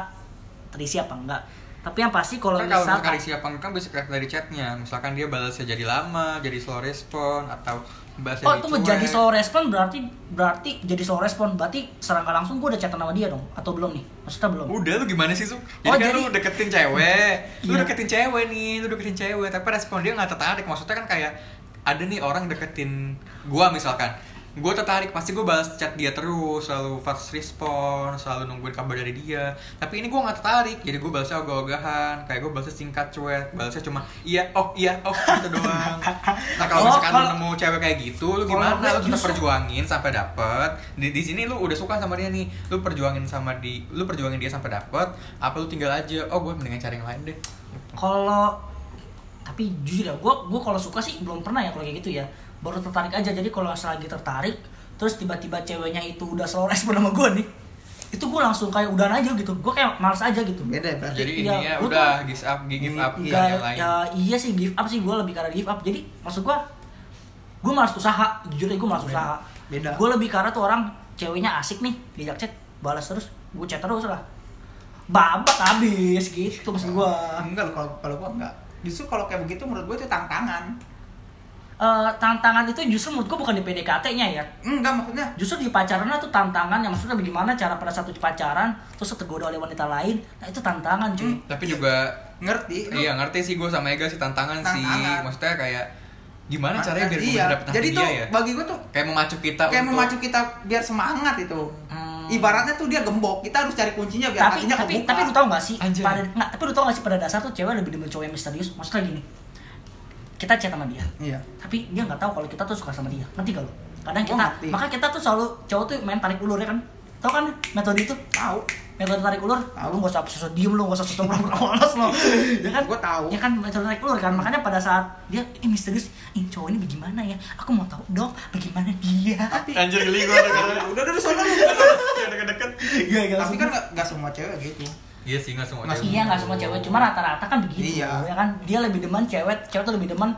Speaker 2: terisi apa enggak? tapi yang pasti kalau
Speaker 3: kan kalau
Speaker 2: misalkan
Speaker 3: misalkan isi apa enggak kan bisa kelihatan dari chatnya misalkan dia balasnya jadi lama jadi slow respon atau bahasnya
Speaker 2: Oh itu menjadi slow respon berarti berarti jadi slow respon berarti secara nggak langsung gue udah chatan sama dia dong atau belum nih maksudnya belum
Speaker 3: udah lu gimana sih Su?
Speaker 2: Oh,
Speaker 3: jadi kan
Speaker 2: jadi-
Speaker 3: lu deketin cewek lu
Speaker 2: Iya.
Speaker 3: deketin cewek nih lu deketin cewek tapi respon dia nggak tertarik maksudnya kan kayak ada nih orang deketin gua misalkan gua tertarik pasti gua balas chat dia terus selalu fast respon selalu nungguin kabar dari dia tapi ini gua nggak tertarik jadi gua balasnya ogah-ogahan kayak gua balasnya singkat cuek balasnya cuma iya oh iya oh gitu doang nah
Speaker 2: Oh,
Speaker 3: kalau misalkan lu
Speaker 2: kalau-
Speaker 3: nemu cewek kayak gitu lu
Speaker 2: Kalau
Speaker 3: gimana
Speaker 2: gue
Speaker 3: lu tetap
Speaker 2: justru-
Speaker 3: perjuangin sampai dapet di, di sini lu udah suka sama dia nih lu perjuangin sama di lu perjuangin dia sampai dapet apa lu tinggal aja oh gue mendingan cari yang lain deh
Speaker 2: kalau tapi jujur ya gue gue kalau suka sih belum pernah ya kalau kayak gitu ya baru tertarik aja jadi kalau lagi tertarik terus tiba-tiba ceweknya itu udah slow [laughs] respon sama gue nih itu gue langsung kayak udahan aja gitu gue kayak males aja gitu
Speaker 1: beda ya iya, berarti
Speaker 3: jadi
Speaker 2: Iya,
Speaker 3: intinya
Speaker 2: lu
Speaker 3: udah
Speaker 2: tuh-
Speaker 3: give up give up
Speaker 2: Nggak,
Speaker 3: cari yang lain
Speaker 2: ya, iya sih give up sih gue lebih karena give up jadi maksud gue gue malas usaha jujur ya gue malas
Speaker 1: Beda.
Speaker 2: usaha
Speaker 1: Beda.
Speaker 2: gue lebih karena tuh orang ceweknya asik nih diajak chat balas terus gue chat terus lah babak habis gitu maksud gue
Speaker 1: enggak kalau kalau gua enggak justru kalau kayak begitu menurut gua itu tantangan
Speaker 2: Eh, tantangan itu justru menurut gue bukan di PDKT-nya ya
Speaker 1: enggak maksudnya
Speaker 2: justru di pacaran itu tantangan yang maksudnya bagaimana cara pada satu pacaran terus tergoda oleh wanita lain nah itu tantangan cuy
Speaker 1: Hmm.
Speaker 3: tapi juga
Speaker 1: ngerti lu-
Speaker 3: iya ngerti sih gue sama Ega sih tantangan, sih
Speaker 1: Tantangan.
Speaker 3: maksudnya kayak gimana caranya biar gue
Speaker 1: Iya.
Speaker 3: dapet hati
Speaker 1: jadi
Speaker 3: dia
Speaker 1: tuh
Speaker 3: ya
Speaker 1: bagi gua tuh
Speaker 3: kayak memacu kita
Speaker 1: kayak
Speaker 3: untuk
Speaker 1: memacu kita biar semangat itu
Speaker 2: Hmm.
Speaker 1: ibaratnya tuh dia gembok kita harus cari kuncinya biar
Speaker 2: tapi
Speaker 1: hatinya
Speaker 2: tapi
Speaker 1: Iya, kebuka
Speaker 2: tapi lu tau gak sih
Speaker 3: Anjay.
Speaker 2: pada nggak, tapi lu tau gak sih pada dasar tuh cewek lebih demen cowok yang misterius maksudnya gini kita chat sama dia
Speaker 1: iya
Speaker 2: tapi dia nggak tahu kalau kita tuh suka sama dia nanti kalau kadang
Speaker 1: Gua
Speaker 2: kita
Speaker 1: Oh, ngerti.
Speaker 2: maka kita tuh selalu cowok tuh main tarik ulur ya kan tau kan metode itu
Speaker 1: tahu
Speaker 2: metode tarik ulur "Ah,
Speaker 1: Tahu.
Speaker 2: lu gak usah sosok diem lu gak usah sosok pura-pura [laughs] polos lo ya kan
Speaker 1: Gua tahu. Hmm.
Speaker 2: ya kan metode tarik ulur kan makanya pada saat dia ini misterius ini cowok ini bagaimana ya aku mau tahu dong bagaimana dia
Speaker 1: tapi
Speaker 3: anjir geli gue
Speaker 1: udah udah udah, sono lu
Speaker 3: deket-deket
Speaker 2: Iya,
Speaker 1: tapi
Speaker 2: nggak langsung.
Speaker 1: kan nggak- nggak semua cewek gitu
Speaker 3: iya sih nggak semua
Speaker 1: Mas-
Speaker 3: cewek.
Speaker 2: Iya nggak semua cewek, cuma rata-rata kan begitu
Speaker 1: Iya.
Speaker 2: ya kan. Dia lebih demen cewek, cewek tuh lebih demen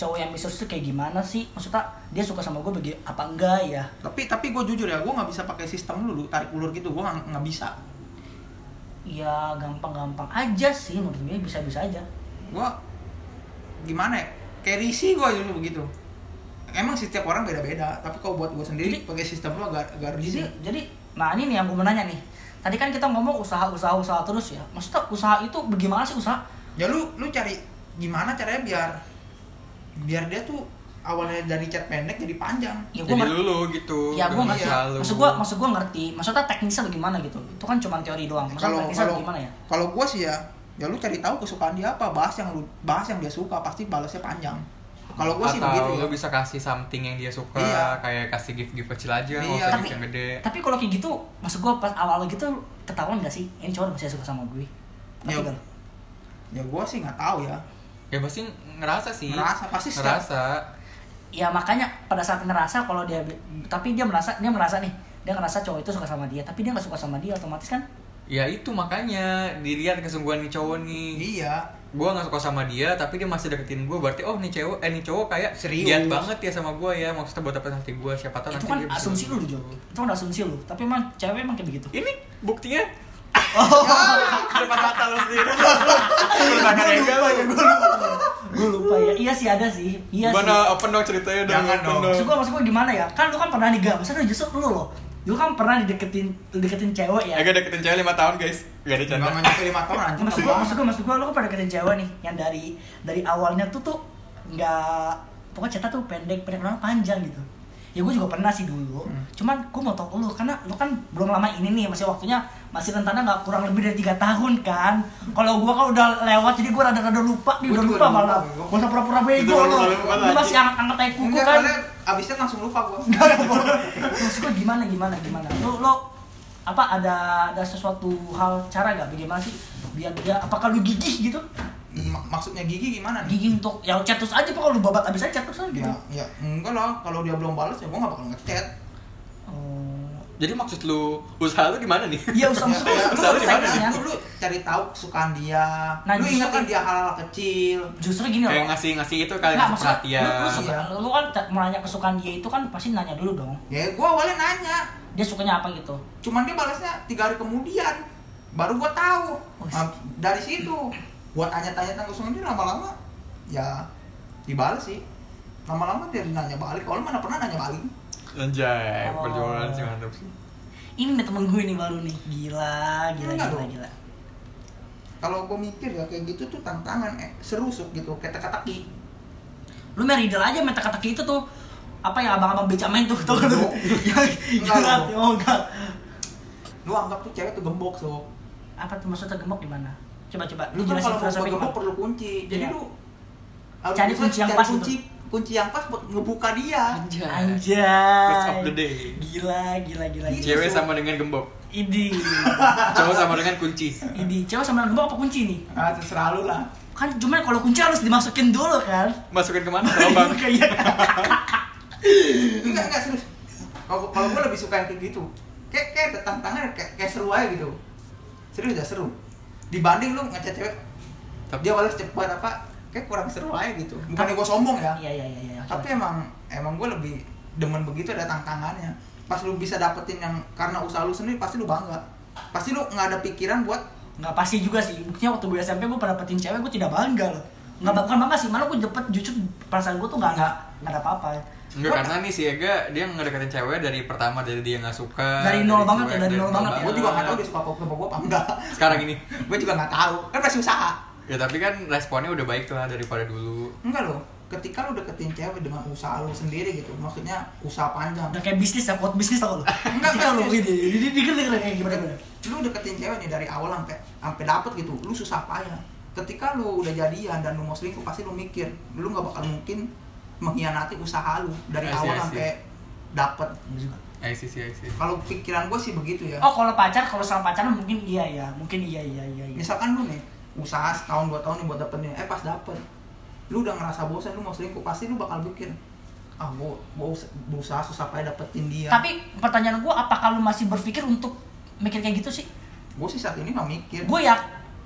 Speaker 2: cowok yang misterius tuh kayak gimana sih? Maksudnya dia suka sama gue bagi apa enggak ya?
Speaker 1: tapi tapi gue jujur ya gue nggak bisa pakai sistem lu lu tarik ulur gitu gue nggak nggak bisa
Speaker 2: Ya gampang-gampang aja sih menurut gue bisa-bisa aja.
Speaker 1: gue gimana ya kayak risih gue justru begitu emang sih setiap orang beda-beda tapi kalau buat gue sendiri
Speaker 2: Jadi-
Speaker 1: pakai sistem lu agak agak
Speaker 2: Jadi,
Speaker 1: risih
Speaker 2: jadi, nah ini nih yang gue mau nanya nih. Tadi kan kita ngomong usaha-usaha-usaha terus ya. Maksudnya usaha itu bagaimana sih usaha?
Speaker 1: ya lu lu cari gimana caranya biar biar dia tuh awalnya dari chat pendek jadi panjang
Speaker 2: Ya gue
Speaker 3: jadi dulu gitu
Speaker 2: ya gue
Speaker 3: demi
Speaker 2: ngerti.
Speaker 3: selalu.
Speaker 2: Maksud gue, maksud gue ngerti. Maksudnya teknisnya bagaimana gitu? Itu kan cuma teori doang. Maksudnya
Speaker 1: kalau
Speaker 2: teknisnya
Speaker 1: kalau
Speaker 2: bagaimana ya?
Speaker 1: kalau gue sih ya ya lu cari tahu kesukaan dia apa bahas yang lu bahas yang dia suka pasti balasnya panjang kalau gue sih
Speaker 3: Atau
Speaker 1: begitu ya
Speaker 3: lu bisa kasih something yang dia suka,
Speaker 1: Iya.
Speaker 3: kayak kasih gift-gift kecil aja, nggak
Speaker 1: Iya.
Speaker 3: usah
Speaker 2: Tapi-
Speaker 3: gift yang gede.
Speaker 2: Tapi kalau kayak gitu, maksud gue pas awal gitu ketahuan gak sih? Ini cowok masih suka sama gue. Ngerti
Speaker 1: Ya.
Speaker 2: nggak lu?
Speaker 1: ya gue sih nggak tahu ya
Speaker 3: Ya pasti ngerasa sih.
Speaker 1: Ngerasa, pasti setiap-
Speaker 3: ngerasa.
Speaker 2: ya makanya pada saat ngerasa kalau dia tapi dia merasa dia merasa nih dia ngerasa cowok itu suka sama dia tapi dia nggak suka sama dia otomatis kan
Speaker 3: Ya itu makanya dilihat kesungguhan nih cowok nih.
Speaker 1: iya
Speaker 3: Gua nggak suka sama dia, tapi dia masih deketin gua. Berarti oh nih cewek, eh nih cowok kayak
Speaker 1: Serius.
Speaker 3: giat banget ya sama gua ya. Maksudnya buat dapetin hati gua, siapa
Speaker 2: itu
Speaker 3: tahu nanti
Speaker 2: kan
Speaker 3: dia bisa- Iya.
Speaker 2: asumsi lu Jo itu kan asumsi lu tapi emang cewek emang kayak begitu
Speaker 3: Ini buktinya
Speaker 2: oh
Speaker 3: depan mata lu sendiri. Berbakat
Speaker 1: Iya
Speaker 3: Ega lu.
Speaker 2: gue lupa ya iya sih ada sih iya sih
Speaker 3: Mana open dong ceritanya dong.
Speaker 1: Jangan
Speaker 3: open
Speaker 1: dong.
Speaker 2: maksud gue maksud gue gimana ya kan lu kan pernah digak maksudnya justru lu loh lu kan pernah dideketin deketin cewek ya
Speaker 3: Ega deketin cewek 5 tahun guys. Gak ada Eh, canda.
Speaker 1: nggak nyampe lima tahun anjing
Speaker 2: maksud gue maksud gue maksud gue lu kan pada deketin cewek nih yang dari dari awalnya tuh tuh nggak pokoknya cerita tuh pendek pendek orang panjang gitu ya gue juga pernah sih dulu
Speaker 1: Hmm.
Speaker 2: cuman gue mau tau lu karena lu kan belum lama ini nih masih waktunya masih rentannya nggak kurang lebih dari tiga tahun kan kalau gue kan udah lewat jadi gue rada-rada lupa nih
Speaker 1: Gua
Speaker 2: udah
Speaker 1: juga
Speaker 2: lupa
Speaker 1: udah lupa,
Speaker 2: malah
Speaker 1: gua.
Speaker 2: gue usah pura-pura bego lu
Speaker 3: Udah lupa, lupa
Speaker 2: lu
Speaker 3: lagi.
Speaker 2: masih ang- angkat tai kuku
Speaker 1: Enggak,
Speaker 2: kan
Speaker 1: soalnya abisnya langsung lupa gue
Speaker 2: [laughs] maksud gue gimana gimana gimana lo lo apa ada ada sesuatu hal cara gak bagaimana sih biar dia apakah lu gigih gitu
Speaker 1: maksudnya gigi gimana nih
Speaker 2: gigih untuk ya chat terus aja pokoknya lu babat abis aja chat terus aja gitu
Speaker 1: ya, ya enggak lah kalau dia belum balas ya gue nggak bakal ngechat
Speaker 2: oh
Speaker 3: Jadi maksud lu usaha lu di mana nih? [laughs]
Speaker 2: iya usah usah
Speaker 1: Ya,
Speaker 2: usah
Speaker 1: lu harus
Speaker 2: usah usah
Speaker 1: cari-
Speaker 2: usah
Speaker 1: lu- lu cari tahu kesukaan dia
Speaker 2: Nah,
Speaker 1: lu
Speaker 2: justru
Speaker 1: ingetin
Speaker 2: kan-
Speaker 1: dia hal-hal kecil
Speaker 2: justru gini
Speaker 3: kayak
Speaker 2: loh
Speaker 3: ngasih ngasih itu kali
Speaker 2: nggak
Speaker 3: ngasih
Speaker 2: maksudnya
Speaker 3: perhatian
Speaker 2: lu, lu, suka,
Speaker 1: Iya.
Speaker 2: lu kan t- mau nanya kesukaan dia itu kan pasti nanya dulu dong
Speaker 1: ya gue awalnya nanya
Speaker 2: dia sukanya apa gitu
Speaker 1: cuman dia balasnya tiga hari kemudian baru gue tahu
Speaker 2: Wes.
Speaker 1: Nah, dari situ gue tanya-tanya tentang kesungguhan ini lama-lama ya dibales sih lama-lama dia nanya balik kalau mana pernah nanya balik
Speaker 3: Anjay,
Speaker 2: Oh.
Speaker 3: perjuangan sih mantap sih.
Speaker 2: Ini nih temen gue nih baru nih. Gila, gila,
Speaker 1: Enggak
Speaker 2: gila,
Speaker 1: dong.
Speaker 2: gila.
Speaker 1: kalau gue mikir ya kayak gitu tuh tantangan eh, serusuk gitu kata-kataki
Speaker 2: Lu main reader aja main teka-teki itu tuh. Apa ya abang-abang beca main tuh, tuh tuh. Yang
Speaker 1: Enggak,
Speaker 2: jerat,
Speaker 1: dong.
Speaker 2: oh enggak.
Speaker 1: lu anggap tuh cewek tuh gembok so
Speaker 2: Apa tuh maksudnya gemuk gimana? Coba coba
Speaker 1: lu kan kalau mau
Speaker 2: filosofi
Speaker 1: gembok
Speaker 2: gimana?
Speaker 1: perlu kunci jadi
Speaker 2: Iya.
Speaker 1: lu harus
Speaker 2: Cari
Speaker 1: bisa
Speaker 2: kunci yang
Speaker 1: cari
Speaker 2: pas
Speaker 1: kunci kunci yang pas buat ngebuka dia
Speaker 3: Words of the
Speaker 2: Anjay.
Speaker 3: day.
Speaker 2: Gila, gila, gila.
Speaker 1: Ini
Speaker 2: gila.
Speaker 3: Cewek
Speaker 1: tuh.
Speaker 3: sama dengan gembok,
Speaker 2: Idi.
Speaker 3: cowok sama dengan kunci.
Speaker 2: Idi. Cewek sama gembok apa kunci nih?
Speaker 1: ah terserah lu lah
Speaker 2: Kan cuma kalau kunci harus dimasukin dulu kan.
Speaker 3: Masukin kemana? Lubang.
Speaker 2: [laughs] Iya kan?
Speaker 1: enggak enggak serius kalau kalau gue lebih suka yang kayak gitu kayak kayak ada tantangan kayak, kayak seru aja gitu serius udah seru dibanding lu ngaca cewek
Speaker 3: Tapi
Speaker 1: dia balas cepat apa kayak kurang seru aja gitu bukannya gue sombong ya
Speaker 2: Iya, iya, iya,
Speaker 3: Nah,
Speaker 2: iya.
Speaker 1: tapi emang emang gue lebih demen begitu ada tantangannya pas lu bisa dapetin yang karena usaha lu sendiri pasti lu bangga pasti lu nggak ada pikiran buat
Speaker 2: nggak pasti juga sih buktinya waktu gue SMP gue pernah dapetin cewek gue tidak bangga loh nggak bukan bangga sih malah gue dapet jujur perasaan gue tuh nggak nggak nggak ada apa-apa
Speaker 3: Enggak karena nih si Ega dia ngedeketin cewek dari pertama dari dia nggak suka.
Speaker 2: Dari nol banget
Speaker 3: cuek,
Speaker 2: ya, dari nol banget ya.
Speaker 1: gue "Oh, juga nggak tahu dia suka apa gue apa enggak [laughs]
Speaker 3: Sekarang ini.
Speaker 1: gue juga nggak tahu kan masih usaha
Speaker 3: Ya tapi kan responnya udah baik lah daripada dulu.
Speaker 1: enggak loh ketika lu deketin cewek dengan usaha lu sendiri gitu maksudnya usaha panjang
Speaker 3: Nah,
Speaker 2: udah kayak bisnis ya kuat bisnis
Speaker 3: [laughs]
Speaker 2: tau lo
Speaker 1: Nggak,
Speaker 2: Iya, lo
Speaker 1: bisnis.
Speaker 2: gitu jadi dikira dikira kayak gimana gimana
Speaker 1: lu deketin cewek nih dari awal sampai sampai dapet gitu lu susah payah ketika lu udah jadian dan lu mau selingkuh pasti lu mikir lu nggak bakal mungkin mengkhianati usaha lu dari
Speaker 3: I see,
Speaker 1: awal
Speaker 3: I see.
Speaker 1: sampai dapet
Speaker 3: I see, see, I see.
Speaker 1: kalau pikiran gue sih begitu ya
Speaker 2: oh kalau pacar kalau sama pacaran mungkin iya ya mungkin iya iya iya, iya.
Speaker 1: misalkan lu nih usaha setahun dua tahun nih buat dapet nih eh pas dapet lu udah ngerasa bosan lu mau selingkuh pasti lu bakal mikir ah gua, gua us- berusaha susah payah dapetin dia
Speaker 3: iya.
Speaker 2: tapi pertanyaan gue apakah lu masih berpikir untuk mikir kayak gitu sih
Speaker 1: gue sih saat ini nggak
Speaker 3: Iya.
Speaker 1: mikir
Speaker 2: gue ya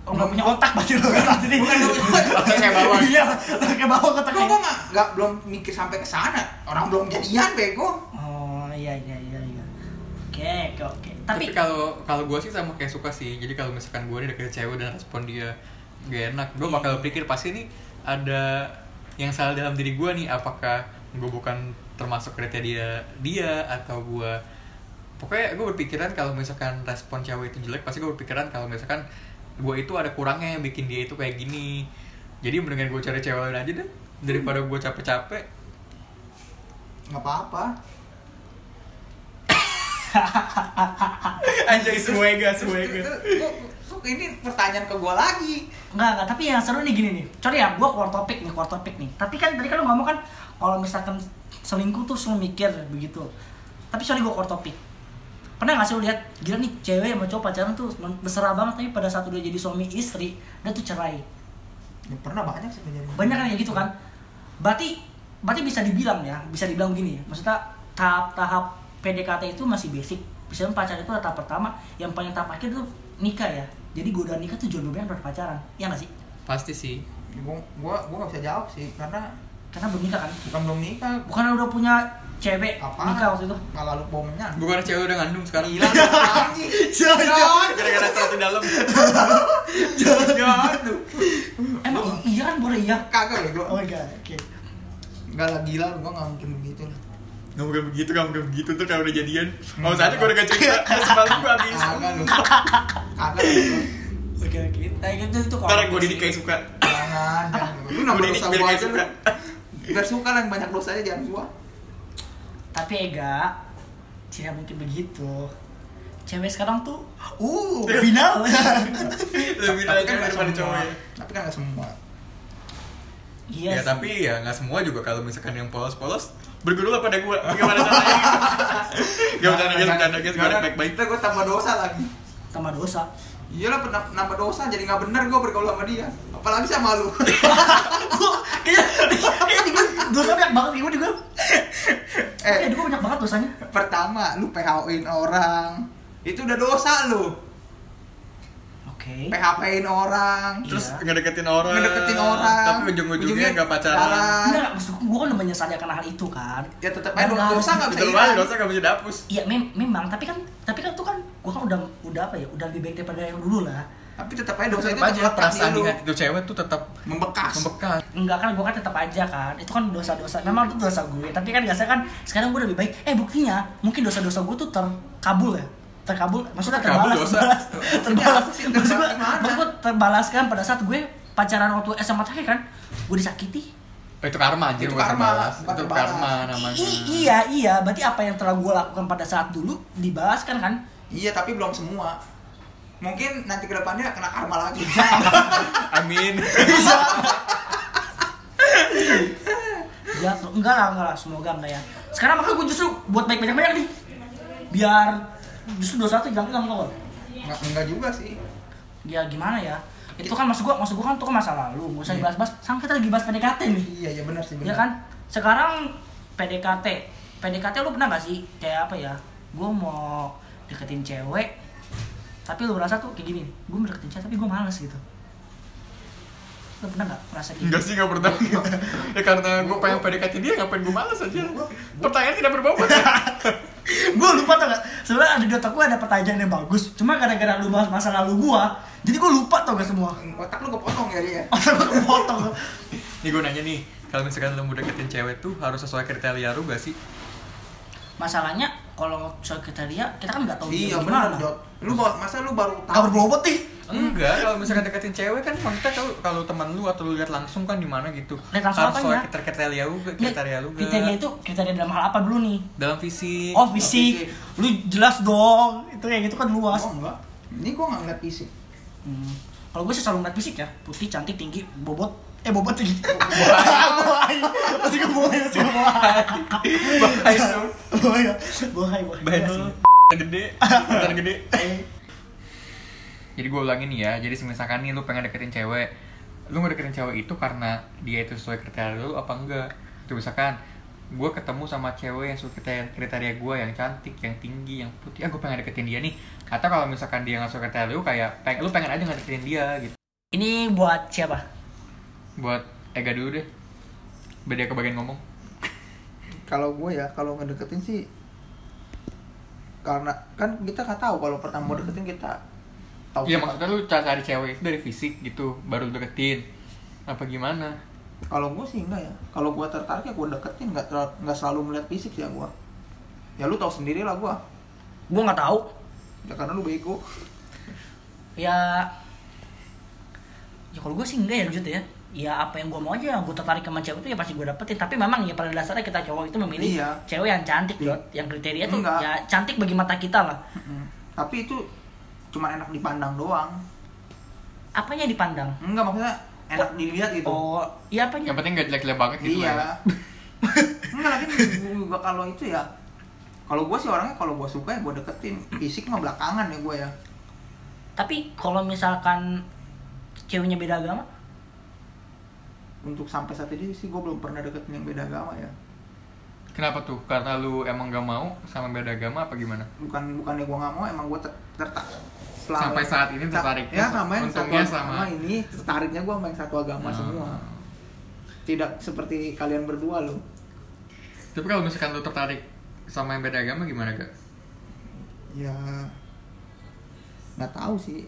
Speaker 2: lo
Speaker 3: Oh,
Speaker 2: nggak punya otak berarti lo kan jadi [laughs]
Speaker 3: Otaknya bawang.
Speaker 2: iya lo kayak bawang
Speaker 1: Kok
Speaker 2: otaknya
Speaker 1: gue nggak nggak belum mikir sampai ke sana. Orang belum jadian bego.
Speaker 2: oh iya iya iya iya oke oke oke
Speaker 3: Tapi,
Speaker 2: tapi
Speaker 3: kalau kalau gue sih sama kayak suka sih. Jadi kalau misalkan gue deketin cewek dan respon dia gak enak, gue bakal pikir pasti nih ada yang salah dalam diri gue nih. Apakah gue bukan termasuk kriteria dia atau gue pokoknya gue berpikiran kalau misalkan respon cewek itu jelek pasti gue berpikiran kalau misalkan gue itu ada kurangnya yang bikin dia itu kayak gini jadi mendingan gue cari cewek lain aja deh daripada gue capek-capek
Speaker 1: Nggak apa-apa.
Speaker 3: anjay semuega semuega
Speaker 1: Itu- itu- itu- Ini pertanyaan ke gue lagi.
Speaker 2: Enggak, enggak, tapi yang seru nih gini nih. Sorry ya, gua keluar topik nih, keluar topik nih. Tapi kan tadi kan lu ngomong kan kalau misalkan selingkuh tuh selalu mikir begitu. Tapi sorry gua keluar topik. Pernah gak sih lu lihat gila nih cewek sama cowok pacaran tuh mesra banget tapi pada saat udah jadi suami istri, dia tuh cerai.
Speaker 1: Ya, pernah banyak sih kejadian.
Speaker 2: Banyak kan kayak gitu kan? Berarti berarti bisa dibilang ya, bisa dibilang gini. Maksudnya tahap-tahap PDKT itu masih basic. Misalnya pacaran itu ada tahap pertama, yang paling tahap akhir tuh nikah ya. Jadi godaan nikah tuh jauh lebih banyak daripada pacaran. Iya gak sih?
Speaker 3: pasti sih
Speaker 1: Gue gue gue nggak bisa jawab sih karena
Speaker 2: Karena belum nikah kan?
Speaker 1: bukan belum nikah.
Speaker 2: Bukan udah punya cewek
Speaker 1: Apa?
Speaker 2: nikah waktu itu?
Speaker 1: Malah lu bomennya.
Speaker 3: bukan cewek udah ngandung sekarang
Speaker 1: Gila lu anjing. Jangan.
Speaker 3: gara-gara celana dalam
Speaker 1: Jangan lu.
Speaker 2: Emang iya kan boleh iya?
Speaker 1: Kagak bego.
Speaker 2: Oh my god, oke.
Speaker 1: Enggak lah gila lu gue nggak mungkin begitu lah.
Speaker 3: nggak mungkin begitu nggak mungkin begitu tuh kalau udah jadian mau saja gue udah gak cerita terus malam gue habis
Speaker 1: Kagak lu. Kagak lu. Bego.
Speaker 2: Oke oke. Nah itu itu
Speaker 3: ntar gue didik kayak suka
Speaker 1: Jangan. jangan. Lu
Speaker 3: Gua
Speaker 1: nambah
Speaker 3: didik
Speaker 1: dosa gue
Speaker 3: biar kayak
Speaker 1: aja lu.
Speaker 3: suka.
Speaker 1: Biar suka lah yang banyak dosanya jangan gua.
Speaker 2: Tapi Ega tidak mungkin begitu. Cewek sekarang tuh [laughs] uh final.
Speaker 3: [laughs] lebih
Speaker 1: Tapi
Speaker 3: aja
Speaker 1: kan nggak
Speaker 3: daripada
Speaker 1: semua.
Speaker 3: cowok
Speaker 1: Tapi kan nggak semua.
Speaker 2: Iya.
Speaker 3: ya
Speaker 2: sih.
Speaker 3: tapi ya nggak semua juga kalau misalkan yang polos-polos bergurau pada [laughs] gue gimana caranya gak bercanda guys bercanda guys gue baik-baik
Speaker 1: gue tambah dosa lagi.
Speaker 2: tambah dosa.
Speaker 1: Iyalah pernah nambah dosa jadi nggak bener gue bergaul sama dia. Apalagi sama lu. [laughs]
Speaker 2: Gua- kayaknya kayaknya di gua dosa banyak banget di gua di gua.
Speaker 1: Eh.
Speaker 2: Eh, di gua banyak banget dosanya.
Speaker 1: Pertama, lu PHO-in orang. Itu udah dosa lu.
Speaker 2: Oke.
Speaker 1: PHP-in orang.
Speaker 3: terus
Speaker 2: Iya.
Speaker 3: ngedeketin orang
Speaker 1: Ngedeketin orang.
Speaker 3: tapi ujung-ujungnya nggak pacaran
Speaker 1: jalan.
Speaker 2: Enggak, enggak, maksud gua gua kan udah menyadari akan hal itu kan.
Speaker 1: Ya tetap
Speaker 2: Dan
Speaker 1: aja dosa nggak bisa
Speaker 3: itu
Speaker 1: hilang.
Speaker 3: doang dosa gak bisa dihapus
Speaker 2: Iya mem memang tapi kan tapi kan itu kan gua kan udah udah udah apa ya udah lebih baik daripada yang dulu lah
Speaker 1: tapi tetap aja dosa itu
Speaker 3: Tetap aja
Speaker 1: tetap
Speaker 3: perasaan
Speaker 1: lekat
Speaker 3: di
Speaker 1: di lu.
Speaker 3: hati tuh cewek tuh tetap
Speaker 1: membekas
Speaker 3: membekas
Speaker 2: enggak kan gue kan tetap aja kan itu kan dosa-dosa memang itu dosa gue tapi kan biasanya kan sekarang gue lebih baik eh buktinya mungkin dosa-dosa gue tuh terkabul ya terkabul maksudnya
Speaker 3: Terkabul
Speaker 2: terbalas [laughs]
Speaker 3: dosa.
Speaker 2: terbalas terbalas
Speaker 1: Maksudnya apa sih?
Speaker 2: maksud gue
Speaker 1: Terbalas
Speaker 2: maksud gue terbalaskan pada saat gue pacaran waktu SMA terakhir kan gue disakiti
Speaker 3: Oh, itu karma anjir
Speaker 1: Itu
Speaker 3: bukan
Speaker 1: karma,
Speaker 3: balas.
Speaker 1: bukan
Speaker 3: itu
Speaker 1: balas.
Speaker 3: karma
Speaker 2: I-
Speaker 3: namanya
Speaker 2: i- iya iya berarti apa yang telah gue lakukan pada saat dulu dibalaskan kan
Speaker 1: iya tapi belum semua mungkin nanti kedepannya kena karma lagi
Speaker 2: [laughs]
Speaker 3: amin
Speaker 2: ya enggak lah enggak lah semoga enggak ya sekarang makanya gue justru buat baik banyak banyak nih biar justru dosa tuh hilang hilang tau gak?
Speaker 1: Nggak- enggak juga sih
Speaker 2: ya gimana ya itu kan maksud gua maksud gua kan itu kan masa lalu nggak usah dibahas-bahas sekarang kita lagi bahas PDKT nih
Speaker 1: iya iya benar sih benar
Speaker 2: ya kan sekarang PDKT PDKT lu pernah gak sih kayak apa ya gua mau deketin cewek tapi lu merasa tuh kayak gini gua mau deketin cewek tapi gua males gitu lu pernah gak merasa gitu
Speaker 3: Enggak sih, enggak pernah. ya karena gue pengen PDKT dia, ngapain gue males aja. Pertanyaan tidak
Speaker 2: [laughs]
Speaker 3: berbobot.
Speaker 2: gue lupa tau gak sebenarnya ada di otak gue ada pertanyaan yang bagus cuma gara-gara lu bahas masa lalu gua jadi gua lupa tau gak semua
Speaker 1: otak lu kepotong ya dia
Speaker 2: otak gue kepotong
Speaker 3: nih gue nanya nih, kalau misalkan lo mau deketin cewek tuh harus sesuai kriteria lu gak sih?
Speaker 2: masalahnya kalau soal kriteria kita kan nggak tahu
Speaker 1: iya
Speaker 2: dia
Speaker 1: benar
Speaker 2: gimana.
Speaker 1: Jod lu bawa- masa lu baru
Speaker 2: Nggak
Speaker 1: tahu
Speaker 2: berbobot nih Hmm.
Speaker 3: Enggak, kalau misalkan deketin cewek kan maksudnya kalau kalau teman lu atau lu lihat langsung kan di mana gitu.
Speaker 2: Lihat langsung
Speaker 3: harus sesuai
Speaker 2: apanya?
Speaker 3: kriteria kriteria lu,
Speaker 2: Nggak,
Speaker 3: kriteria lu.
Speaker 2: kriteria itu kriteria dalam hal apa dulu nih
Speaker 3: dalam
Speaker 1: Iya,
Speaker 3: fisik.
Speaker 2: oh fisik lu jelas dong itu kayak gitu kan luas
Speaker 1: oh enggak ini gua nggak ngeliat fisik
Speaker 2: hmm. kalau gue sih selalu ngeliat fisik ya putih cantik tinggi bobot eh bobot tinggi bohai [laughs] masih gue bohai masih gue bohai [laughs]
Speaker 3: Bahaya lu.
Speaker 2: bohai bohai bohai
Speaker 3: Bahaya
Speaker 2: Iya sih.
Speaker 3: lu. gede, Tangan gede. Jadi gue ulangin nih ya, jadi misalkan nih lu pengen deketin cewek Lu mau deketin cewek itu karena dia itu sesuai kriteria lu apa enggak Itu misalkan gue ketemu sama cewek yang sesuai kriteria, kriteria gue yang cantik, yang tinggi, yang putih Ah gue pengen deketin dia nih Atau kalau misalkan dia nggak sesuai kriteria lu kayak peng lu pengen aja nggak deketin dia gitu
Speaker 2: ini buat siapa
Speaker 3: Buat Ega dulu deh Biar dia kebagian ngomong
Speaker 1: kalau gue ya kalau ngedeketin sih karena kan kita nggak tahu kalau pertama mau deketin kita tahu
Speaker 3: Iya
Speaker 1: siapa.
Speaker 3: maksudnya lu cara cari cewek itu dari fisik gitu baru lu deketin Apa gimana?
Speaker 1: kalau gue sih enggak ya kalau gue tertarik ya gue deketin nggak terla- nggak selalu melihat fisik ya gue ya lu tahu sendiri lah gue
Speaker 2: gue nggak tahu
Speaker 1: ya karena lu bego
Speaker 2: ya ya kalau gue sih enggak ya lanjut ya ya apa yang gue mau aja gue tertarik sama cewek itu ya pasti gue dapetin tapi memang ya pada dasarnya kita cowok itu memilih
Speaker 1: Iya.
Speaker 2: cewek yang cantik Dot. yang kriteria tuh
Speaker 1: Enggak.
Speaker 2: ya cantik bagi mata kita lah
Speaker 1: Mm-mm. tapi itu cuma enak dipandang doang
Speaker 2: apanya yang dipandang
Speaker 1: enggak maksudnya enak dilihat gitu
Speaker 2: oh iya apanya
Speaker 3: Yang penting gak jelek-jelek banget gitu lah ya.
Speaker 1: iya [laughs] enggak lagi gue kalau itu ya kalau gue sih orangnya kalau gue suka ya gue deketin fisik mah belakangan ya gue ya
Speaker 2: tapi kalau misalkan ceweknya beda agama
Speaker 1: untuk sampai saat ini sih gue belum pernah deketin yang beda agama ya
Speaker 3: Kenapa tuh? Karena lu emang gak mau sama beda agama apa gimana?
Speaker 1: bukan bukannya gue nggak mau emang gue tertarik
Speaker 3: Sampai saat ini tertarik.
Speaker 1: ya sama yang satu
Speaker 3: Untungnya
Speaker 1: agama
Speaker 3: sama.
Speaker 1: ini tertariknya gue sama yang satu agama
Speaker 3: Hmm.
Speaker 1: semua tidak seperti kalian berdua loh
Speaker 3: Tapi kalau misalkan lu tertarik sama yang beda agama gimana gak?
Speaker 1: ya nggak tahu sih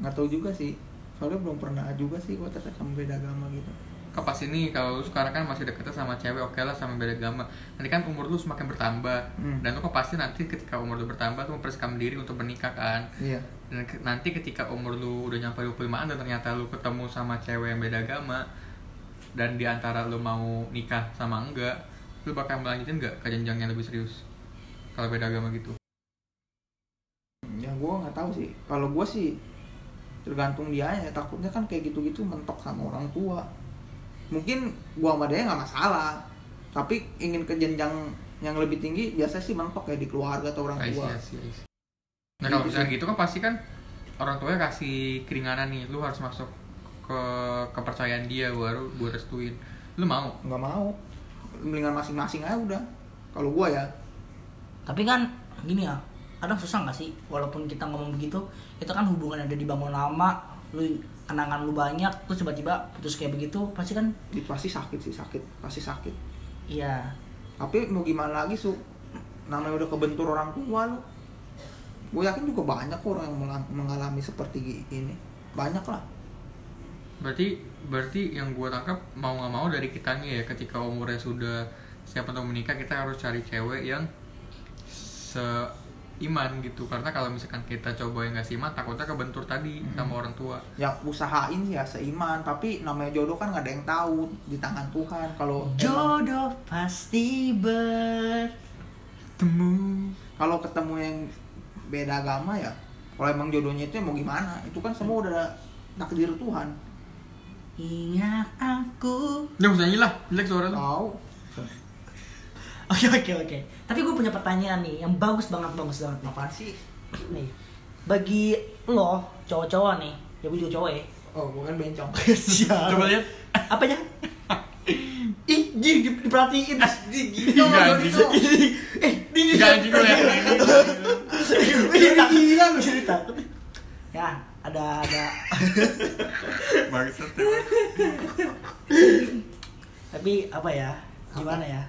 Speaker 1: nggak tahu juga sih soalnya belum pernah juga sih gue tertarik sama beda agama gitu
Speaker 3: Kepas ini kalau lu sekarang kan masih deketnya sama cewek oke lah sama beda agama Nanti kan umur lu semakin bertambah
Speaker 1: Hmm.
Speaker 3: Dan lu kan pasti nanti ketika umur lu bertambah lu mempersiapkan diri untuk menikah kan
Speaker 1: iya
Speaker 3: Dan ke- nanti ketika umur lu udah nyampe 25an dan ternyata lu ketemu sama cewek yang beda agama Dan diantara lu mau nikah sama enggak Lu bakal melanjutin gak ke jenjang yang lebih serius? Kalau beda agama gitu
Speaker 1: ya gue nggak tahu sih kalau gue sih tergantung dia ya takutnya kan kayak gitu-gitu mentok sama orang tua mungkin gue sama dia nggak masalah tapi ingin ke jenjang yang lebih tinggi biasa sih mentok ya di keluarga atau orang
Speaker 3: I see,
Speaker 1: tua
Speaker 3: I see, I see. Nah
Speaker 1: Gitu
Speaker 3: kalau misalnya
Speaker 1: sih.
Speaker 3: gitu kan pasti kan orang tuanya kasih keringanan nih, lu harus masuk ke kepercayaan dia baru gue restuin. Lu mau?
Speaker 1: nggak mau mendingan masing-masing aja udah kalau gue ya
Speaker 2: tapi kan gini ya kadang susah nggak sih walaupun kita ngomong begitu itu kan hubungan ada dibangun lama lu kenangan lu banyak terus tiba-tiba putus kayak begitu pasti kan
Speaker 1: itu pasti sakit sih sakit pasti sakit
Speaker 2: iya
Speaker 1: tapi mau gimana lagi su namanya udah kebentur orang tua lu gue yakin juga banyak kok orang yang melang- mengalami seperti ini banyak lah
Speaker 3: Berarti berarti yang gue tangkap mau nggak mau dari kitanya ya ketika umurnya sudah siapa tahu menikah kita harus cari cewek yang seiman gitu karena kalau misalkan kita coba yang nggak seiman takutnya kebentur tadi
Speaker 1: Hmm.
Speaker 3: sama orang tua
Speaker 1: yang usahain ya seiman tapi namanya jodoh kan nggak ada yang tahu di tangan Tuhan kalau emang-
Speaker 2: Jodoh pasti ber
Speaker 3: temu
Speaker 1: kalau ketemu yang beda agama ya kalau emang jodohnya itu ya mau gimana itu kan semua udah takdir Tuhan
Speaker 2: Ingat aku
Speaker 3: udah usah nyanyi lah jelek suara [laughs] lu
Speaker 1: tahu
Speaker 2: [laughs] Oke oke oke Tapi gue punya pertanyaan nih Yang bagus banget bagus banget nih.
Speaker 1: apaan sih
Speaker 2: nih Bagi lo cowok-cowok nih Ya gue juga cowok ya
Speaker 1: oh bukan bencong
Speaker 2: Siap.
Speaker 3: coba lihat [laughs]
Speaker 2: Apanya? Ih, jir, di- diperhatiin
Speaker 1: gitu
Speaker 3: Iya,
Speaker 1: loh,
Speaker 3: anjing.
Speaker 1: gitu.
Speaker 2: Eh, di Iya,
Speaker 3: nggak anjing ya. gue
Speaker 2: [laughs]
Speaker 3: lihat
Speaker 2: Gila lu cerita Ya, ada ada
Speaker 3: bangsat
Speaker 2: tapi apa ya gimana ya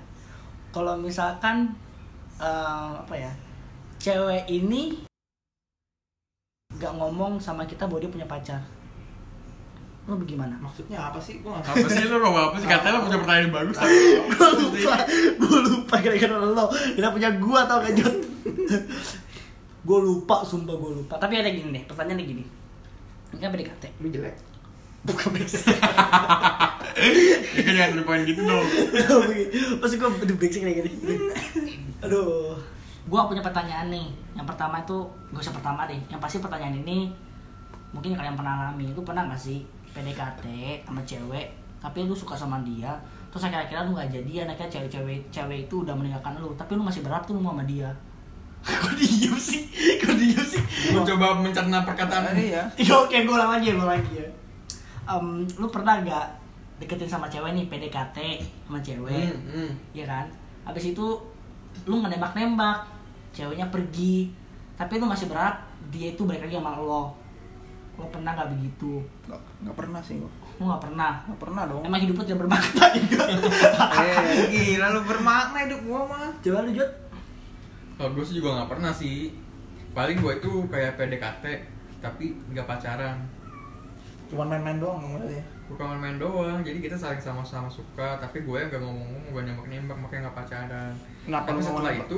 Speaker 2: kalau misalkan eh, apa ya cewek ini nggak ngomong sama kita bahwa dia punya pacar lo bagaimana [laughs]
Speaker 1: maksudnya apa sih gue nggak
Speaker 3: apa sih lu Rob? apa sih katanya lu punya pertanyaan bagus
Speaker 2: gue lupa gue lupa gara-gara lo tidak punya gua tau gak Jod gue lupa sumpah gue lupa tapi ada gini deh pertanyaannya gini ini kan PDKT
Speaker 1: lu jelek
Speaker 2: bukan brengsek
Speaker 3: ya kan jangan lupain gitu dong
Speaker 2: Pas gue udah brengsek kayak gini. Aduh. Gue punya pertanyaan nih. Yang pertama itu gak usah pertama deh. Yang pasti pertanyaan ini mungkin kalian pernah alami. Lu pernah gak sih PDKT sama cewek tapi lu suka sama dia terus akhir-akhirnya lu gak jadian akhirnya cewek-cewek cewek itu udah meninggalkan lu tapi lu masih berat tuh lu mau sama dia [laughs] kok diem sih kok diem sih [laughs]
Speaker 3: Gua coba mencerna perkataan ini
Speaker 1: iya
Speaker 2: Ya oke, gue ulang lagi, gue lagi ya. Em, lu pernah gak deketin sama cewek nih, PDKT sama
Speaker 3: Hmm,
Speaker 2: cewek, ya kan? Abis itu lu nembak-nembak, ceweknya pergi, tapi lu masih berharap dia itu balik lagi sama lo. Lo pernah gak begitu?
Speaker 1: nggak nggak pernah sih gue
Speaker 2: Lu gak pernah.
Speaker 1: nggak pernah dong
Speaker 2: Emang hidup lu tidak bermakna [laughs] juga.
Speaker 1: eh [laughs] gila lu bermakna hidup gua mah
Speaker 2: Coba lu Jod.
Speaker 3: Kalau gue sih juga nggak pernah sih. Paling gue itu kayak PDKT tapi nggak pacaran.
Speaker 1: cuman main-main doang ngomongnya
Speaker 3: Bukan main-main doang. Jadi kita saling sama-sama suka. Tapi gue nggak ngomong-ngomong, gue nembak-nembak, makanya nggak pacaran.
Speaker 1: Kenapa
Speaker 3: tapi
Speaker 1: lu
Speaker 3: setelah
Speaker 1: nembak?
Speaker 3: itu,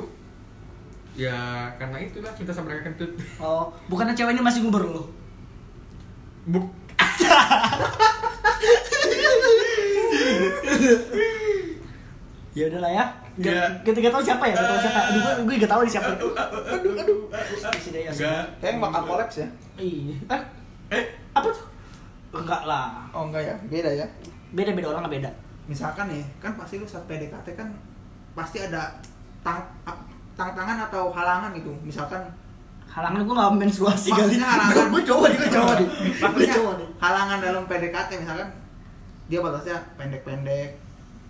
Speaker 3: ya karena itulah cinta sama mereka kentut. [laughs]
Speaker 2: Oh, bukannya cewek ini masih ngubur lu?
Speaker 3: Buk.
Speaker 2: Ya udahlah ya. Gak,
Speaker 3: Iya.
Speaker 2: gak, gak tau siapa ya, gak tau siapa. Aduh, gue, gue gak tau nih siapa. Aduh, aduh, aduh.
Speaker 1: Ya,
Speaker 3: Enggak.
Speaker 1: kayak bakal kolaps ya
Speaker 2: Iya. Eh? Apa tuh? Enggak lah.
Speaker 1: oh enggak ya beda ya
Speaker 2: Beda-beda orang nggak beda.
Speaker 1: misalkan nih kan pasti lu saat PDKT kan pasti ada tang a- tantangan atau halangan gitu misalkan
Speaker 2: Halangan gue nggak menstruasi kali.
Speaker 1: Maksudnya halangan.
Speaker 2: [laughs] Gue cowok nih, gue cowok nih. Gue
Speaker 1: maksudnya
Speaker 2: cowok nih.
Speaker 1: halangan dalam PDKT misalkan dia batasnya pendek-pendek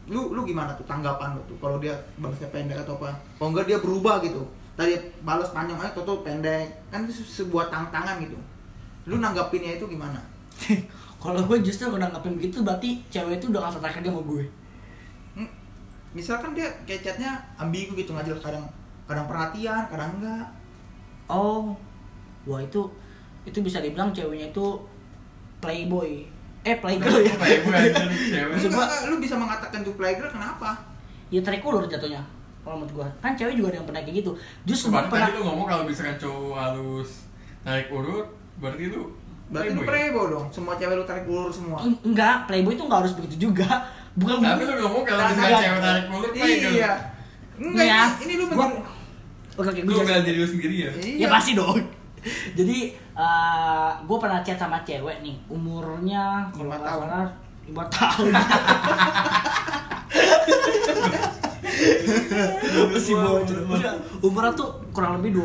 Speaker 1: lu lu gimana tuh tanggapan lu tuh kalau dia batasnya pendek atau apa kalau enggak dia berubah gitu tadi balas panjang aja toto pendek kan itu se- sebuah tantangan gitu lu nanggapinnya itu gimana
Speaker 2: Kalau gue justru udah nanggapin begitu berarti cewek itu udah nggak tertarik dia sama gue.
Speaker 1: Hmm, misalkan dia kayak chatnya ambigu gitu nggak jelas kadang kadang perhatian kadang enggak
Speaker 2: Oh, wah itu itu bisa dibilang ceweknya itu playboy. Eh playgirl ya.
Speaker 3: Kayak gue anjir, cewek.
Speaker 1: Lu,
Speaker 2: Coba-
Speaker 1: enggak, lu bisa mengatakan itu playgirl kenapa?
Speaker 2: Ya tricolor jatuhnya. Kalau menurut gue kan cewek juga ada yang pernah kayak gitu. Justru gue
Speaker 3: Kemarin
Speaker 2: pernah.
Speaker 3: tadi lu ngomong kalau misalkan cowok halus narik urut, berarti lu Eh,
Speaker 1: Berarti lu
Speaker 3: playboy. ya?
Speaker 1: playboy dong. Semua cewek lu tarik ulur semua.
Speaker 2: Eng- Enggak, playboy itu nggak harus begitu juga. Bukan
Speaker 3: Tapi lu ngomong kalau misalkan
Speaker 2: Tantangan.
Speaker 3: cewek narik urut, playboy.
Speaker 1: Nah, Iya. Enggak,
Speaker 2: Iya.
Speaker 1: ini, ini lu
Speaker 2: Gua-
Speaker 1: menjadi-
Speaker 2: Oke, oke,
Speaker 3: Lu
Speaker 2: gue
Speaker 3: bela diri lu sendiri ya.
Speaker 1: Iya.
Speaker 2: Ya pasti dong. [laughs] Jadi gue pernah chat sama cewek nih, umurnya
Speaker 1: Lima
Speaker 2: nggak
Speaker 1: tahun.
Speaker 2: salah, lima
Speaker 1: [laughs]
Speaker 2: tahun. Masih bocil. Udah, Umurnya tuh kurang lebih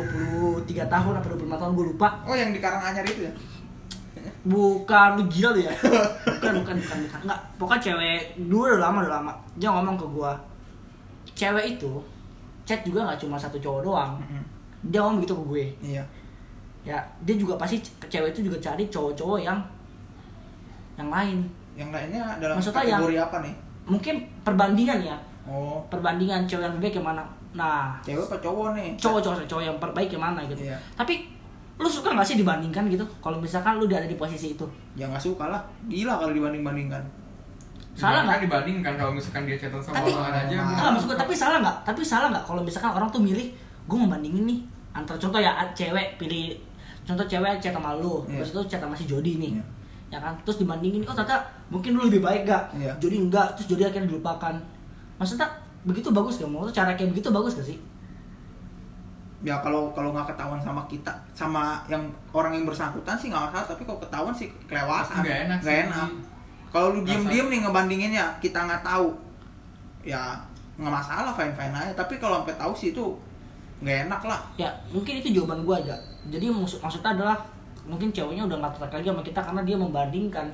Speaker 2: 23 tahun apa 25 tahun gue lupa.
Speaker 1: Oh, yang di Karanganyar itu ya?
Speaker 2: Bukan lu gila lu ya. Bukan bukan bukan bukan. Enggak, pokoknya cewek dulu udah lama udah lama. Dia ngomong ke gua. Cewek itu chat juga nggak cuma satu cowok doang.
Speaker 1: Mm-mm.
Speaker 2: Dia ngomong gitu ke gue
Speaker 1: Iya.
Speaker 2: ya dia juga pasti ce- cewek itu juga cari cowok-cowok yang yang lain
Speaker 1: Yang lainnya dalam
Speaker 2: Maksudnya
Speaker 1: kategori apa nih?
Speaker 2: mungkin perbandingan ya
Speaker 1: oh
Speaker 2: perbandingan cewek yang lebih baik yang mana nah
Speaker 1: cewek apa cowok nih
Speaker 2: cowok cowok cowok yang perbaik yang mana gitu
Speaker 1: Iya.
Speaker 2: tapi lu suka nggak sih dibandingkan gitu kalau misalkan lu ada di posisi itu
Speaker 1: ya nggak suka lah gila kalau dibanding bandingkan
Speaker 2: Salah nggak?
Speaker 3: Dibandingkan- dibandingkan kalau misalkan dia cetan sama
Speaker 2: Tapi-
Speaker 3: orang aja
Speaker 1: Ah,
Speaker 2: Ah, maksud gue, tapi salah nggak? Tapi salah nggak kalau misalkan orang tuh milih, gue mau bandingin nih antara contoh ya a- cewek pilih contoh cewek chat sama lu,
Speaker 1: Iya.
Speaker 2: terus itu chat sama si Jody nih.
Speaker 1: Iya.
Speaker 2: Ya kan? Terus dibandingin, oh ternyata mungkin lu lebih baik gak?
Speaker 1: Iya.
Speaker 2: Jody enggak, terus Jody akhirnya dilupakan. Maksudnya begitu bagus gak? Maksudnya cara kayak begitu bagus gak sih?
Speaker 1: ya kalau kalau nggak ketahuan sama kita sama yang orang yang bersangkutan sih nggak masalah tapi kalau ketahuan sih kelewatan
Speaker 3: Nggak enak sih.
Speaker 1: enak. kalau lu
Speaker 3: Nggak
Speaker 1: diem diem nih ngebandinginnya kita nggak tahu ya nggak masalah fine fine aja tapi kalau sampai tahu sih itu nggak enak lah
Speaker 2: Ya mungkin itu jawaban gue aja. Jadi maksud maksudnya adalah mungkin ceweknya udah nggak tertarik lagi sama kita karena dia membandingkan.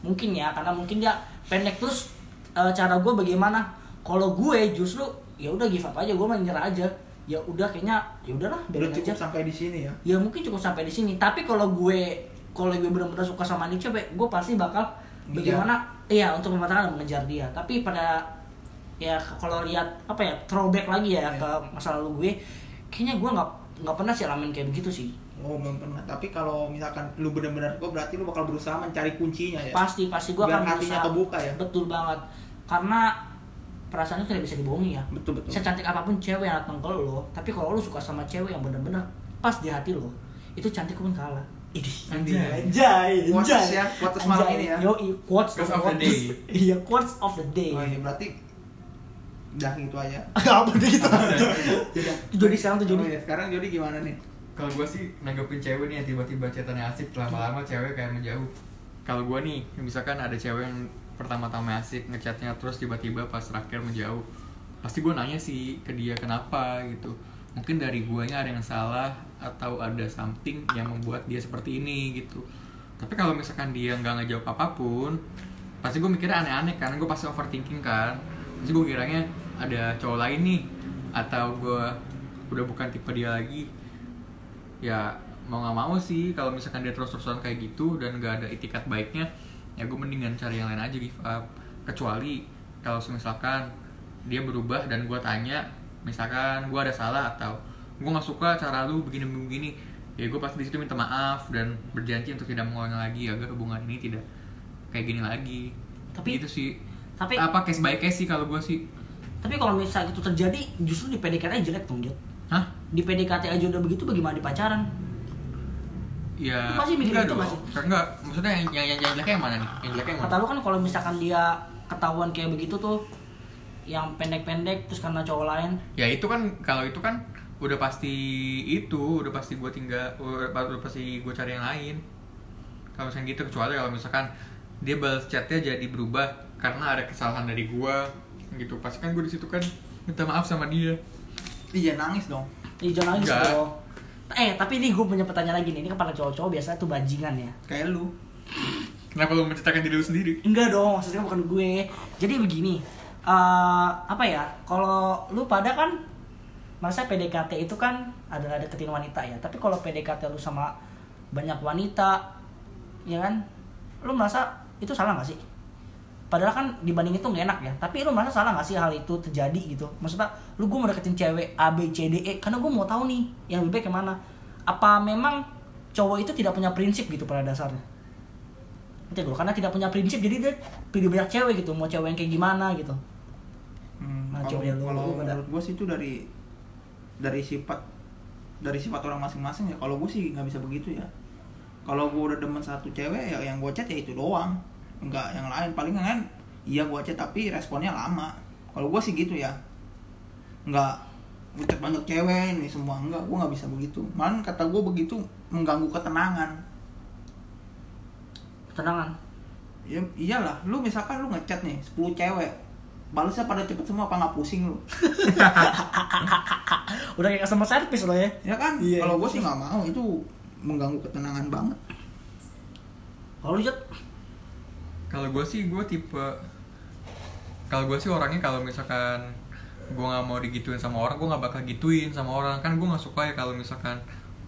Speaker 2: Mungkin ya karena mungkin dia pendek terus e, cara gue bagaimana? Kalau gue justru ya udah give up aja gue mah nyerah aja. Ya udah kayaknya ya udahlah
Speaker 1: udah
Speaker 2: biarin
Speaker 1: cukup
Speaker 2: aja.
Speaker 1: sampai di sini ya
Speaker 2: Ya mungkin cukup sampai di sini. Tapi kalau gue kalau gue benar-benar suka sama nih cewek, gue pasti bakal
Speaker 1: Ngejar.
Speaker 2: bagaimana iya untuk mematahkan dan mengejar dia. Tapi pada ya kalau lihat apa ya throwback lagi ya
Speaker 1: Iya.
Speaker 2: ke masa lalu gue, kayaknya gue nggak nggak pernah sih alamin kayak begitu sih.
Speaker 1: oh belum pernah tapi kalau misalkan lu benar-benar kok berarti lu bakal berusaha mencari kuncinya ya
Speaker 2: Pasti pasti gue
Speaker 1: Biar
Speaker 2: akan
Speaker 1: hatinya
Speaker 2: berusaha.
Speaker 1: kebuka ya?
Speaker 2: Betul banget. Karena perasaan itu tidak bisa dibohongi ya.
Speaker 1: betul betul
Speaker 2: Secantik apapun cewek yang datang ke lo, tapi kalau lo suka sama cewek yang benar-benar pas di hati lo, itu cantik pun kalah. Idih.
Speaker 3: Anjing.
Speaker 2: Anjay,
Speaker 1: Quotes
Speaker 2: anjay.
Speaker 1: ya, quotes malam
Speaker 2: Anjay.
Speaker 1: ini ya.
Speaker 2: Yoi, quotes,
Speaker 3: Quotes of the day.
Speaker 2: Iya, quotes of the day.
Speaker 1: oh, iya, berarti udah gitu aja
Speaker 2: [laughs] Apa deh gitu? Jadi sekarang tuh
Speaker 1: jadi
Speaker 2: jadi.
Speaker 1: sekarang jadi gimana nih
Speaker 3: kalau gue sih nanggepin cewek nih yang tiba-tiba cetannya asik lama-lama cewek kayak menjauh kalau gue nih misalkan ada cewek yang pertama-tama asik ngechatnya terus tiba-tiba pas terakhir menjauh pasti gue nanya sih ke dia kenapa gitu mungkin dari guanya ada yang salah atau ada something yang membuat dia seperti ini gitu tapi kalau misalkan dia nggak ngejawab apapun pasti gue mikirnya aneh-aneh karena gue pasti overthinking kan pasti gue kiranya ada cowok lain nih atau gue udah bukan tipe dia lagi ya mau nggak mau sih kalau misalkan dia terus-terusan kayak gitu dan nggak ada itikat baiknya ya gue mendingan cari yang lain aja give up kecuali kalau misalkan dia berubah dan gue tanya misalkan gue ada salah atau gue nggak suka cara lu begini begini ya gue pasti disitu minta maaf dan berjanji untuk tidak mengulangi lagi agar hubungan ini tidak kayak gini lagi
Speaker 2: Tapi-
Speaker 3: itu sih
Speaker 2: tapi-
Speaker 3: apa case by case sih kalau gue sih
Speaker 2: Tapi kalau misalnya itu terjadi, justru di PDKT aja jelek dong, Jod.
Speaker 3: hah
Speaker 2: Di PDKT aja udah begitu, bagaimana di pacaran?
Speaker 3: ya
Speaker 2: Lu pasti mikir
Speaker 3: enggak
Speaker 2: gitu
Speaker 3: dong.
Speaker 2: masih?
Speaker 3: enggak maksudnya yang yang yang yang jeleknya yang mana nih yang jeleknya yang mana
Speaker 2: Kata lu kan kalau misalkan dia ketahuan kayak begitu tuh, yang pendek-pendek terus karena cowok lain,
Speaker 3: ya itu kan kalau itu kan udah pasti itu udah pasti gue tinggal udah, udah pasti gue cari yang lain kalau misalnya gitu kecuali kalau misalkan dia balas chatnya jadi berubah karena ada kesalahan dari gue gitu pasti kan gue disitu kan minta maaf sama dia
Speaker 1: iya nangis dong
Speaker 2: Ih, jangan nangis
Speaker 3: Enggak.
Speaker 2: dong. Eh, tapi ini gue punya pertanyaan lagi nih. Ini kepala cowok-cowok biasanya tuh bajingan ya.
Speaker 1: kayak lu
Speaker 3: kenapa lu menceritakan diri lu sendiri
Speaker 2: Enggak dong, maksudnya bukan gue. Jadi begini, eh, apa ya? Kalau lu pada kan masa PDKT itu kan adalah deketin wanita ya. Tapi kalau PDKT lu sama banyak wanita, ya kan? Lu merasa itu salah gak sih? Padahal kan dibanding itu gak enak ya. Tapi lu merasa salah gak sih hal itu terjadi gitu? Maksudnya lu gue mau deketin cewek A, B, C, D, E. Karena gue mau tahu nih yang lebih baik yang mana. Apa memang cowok itu tidak punya prinsip gitu pada dasarnya? Ngerti gue, gitu, karena tidak punya prinsip jadi dia pilih banyak cewek gitu mau cewek yang kayak gimana gitu
Speaker 1: Hmm,
Speaker 2: Nah,
Speaker 1: kalau
Speaker 2: coba lu-
Speaker 1: kalau
Speaker 2: lu pada-
Speaker 1: menurut gue sih itu dari dari sifat dari sifat orang masing-masing ya. Kalau gue sih nggak bisa begitu ya. Kalau gue udah demen satu cewek ya yang gue chat ya itu doang. Enggak yang lain paling yang lain iya gue chat tapi responnya lama. Kalau gue sih gitu ya. Enggak gue chat banyak cewek ini semua enggak gue nggak bisa begitu. Malah kata gue begitu mengganggu ketenangan.
Speaker 2: tenangan
Speaker 1: Ya, iyalah, lu misalkan lu ngechat nih 10 cewek Balesnya pada cepet semua apa nggak pusing lu?
Speaker 2: [laughs] udah kayak customer service loh ya
Speaker 1: Ya kan?
Speaker 2: Iya.
Speaker 1: Kalau gue sih nggak mau itu mengganggu ketenangan banget.
Speaker 2: kalau lu Jod,
Speaker 3: kalau gue sih gue tipe kalau gue sih orangnya kalau misalkan gue nggak mau digituin sama orang gue nggak bakal gituin sama orang kan gue nggak suka ya kalau misalkan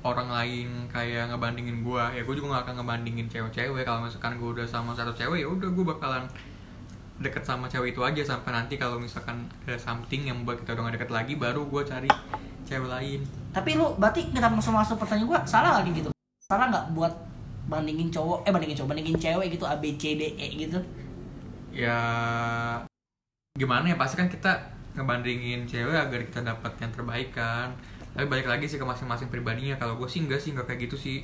Speaker 3: orang lain kayak ngebandingin gue ya gue juga nggak akan ngebandingin cewek-cewek kalau misalkan gue udah sama satu cewek ya udah gue bakalan deket sama cewek itu aja sampai nanti kalau misalkan ada something yang membuat kita udah gak deket lagi baru gue cari cewek lain
Speaker 2: Tapi lu berarti kita masuk masuk pertanyaan gua salah lagi gitu. Salah nggak buat bandingin cowok eh bandingin cowok bandingin cewek gitu A B C D E gitu.
Speaker 3: ya gimana ya pasti kan kita ngebandingin cewek agar kita dapat yang terbaik kan tapi balik lagi sih ke masing-masing pribadinya kalau gue sih enggak sih enggak kayak gitu sih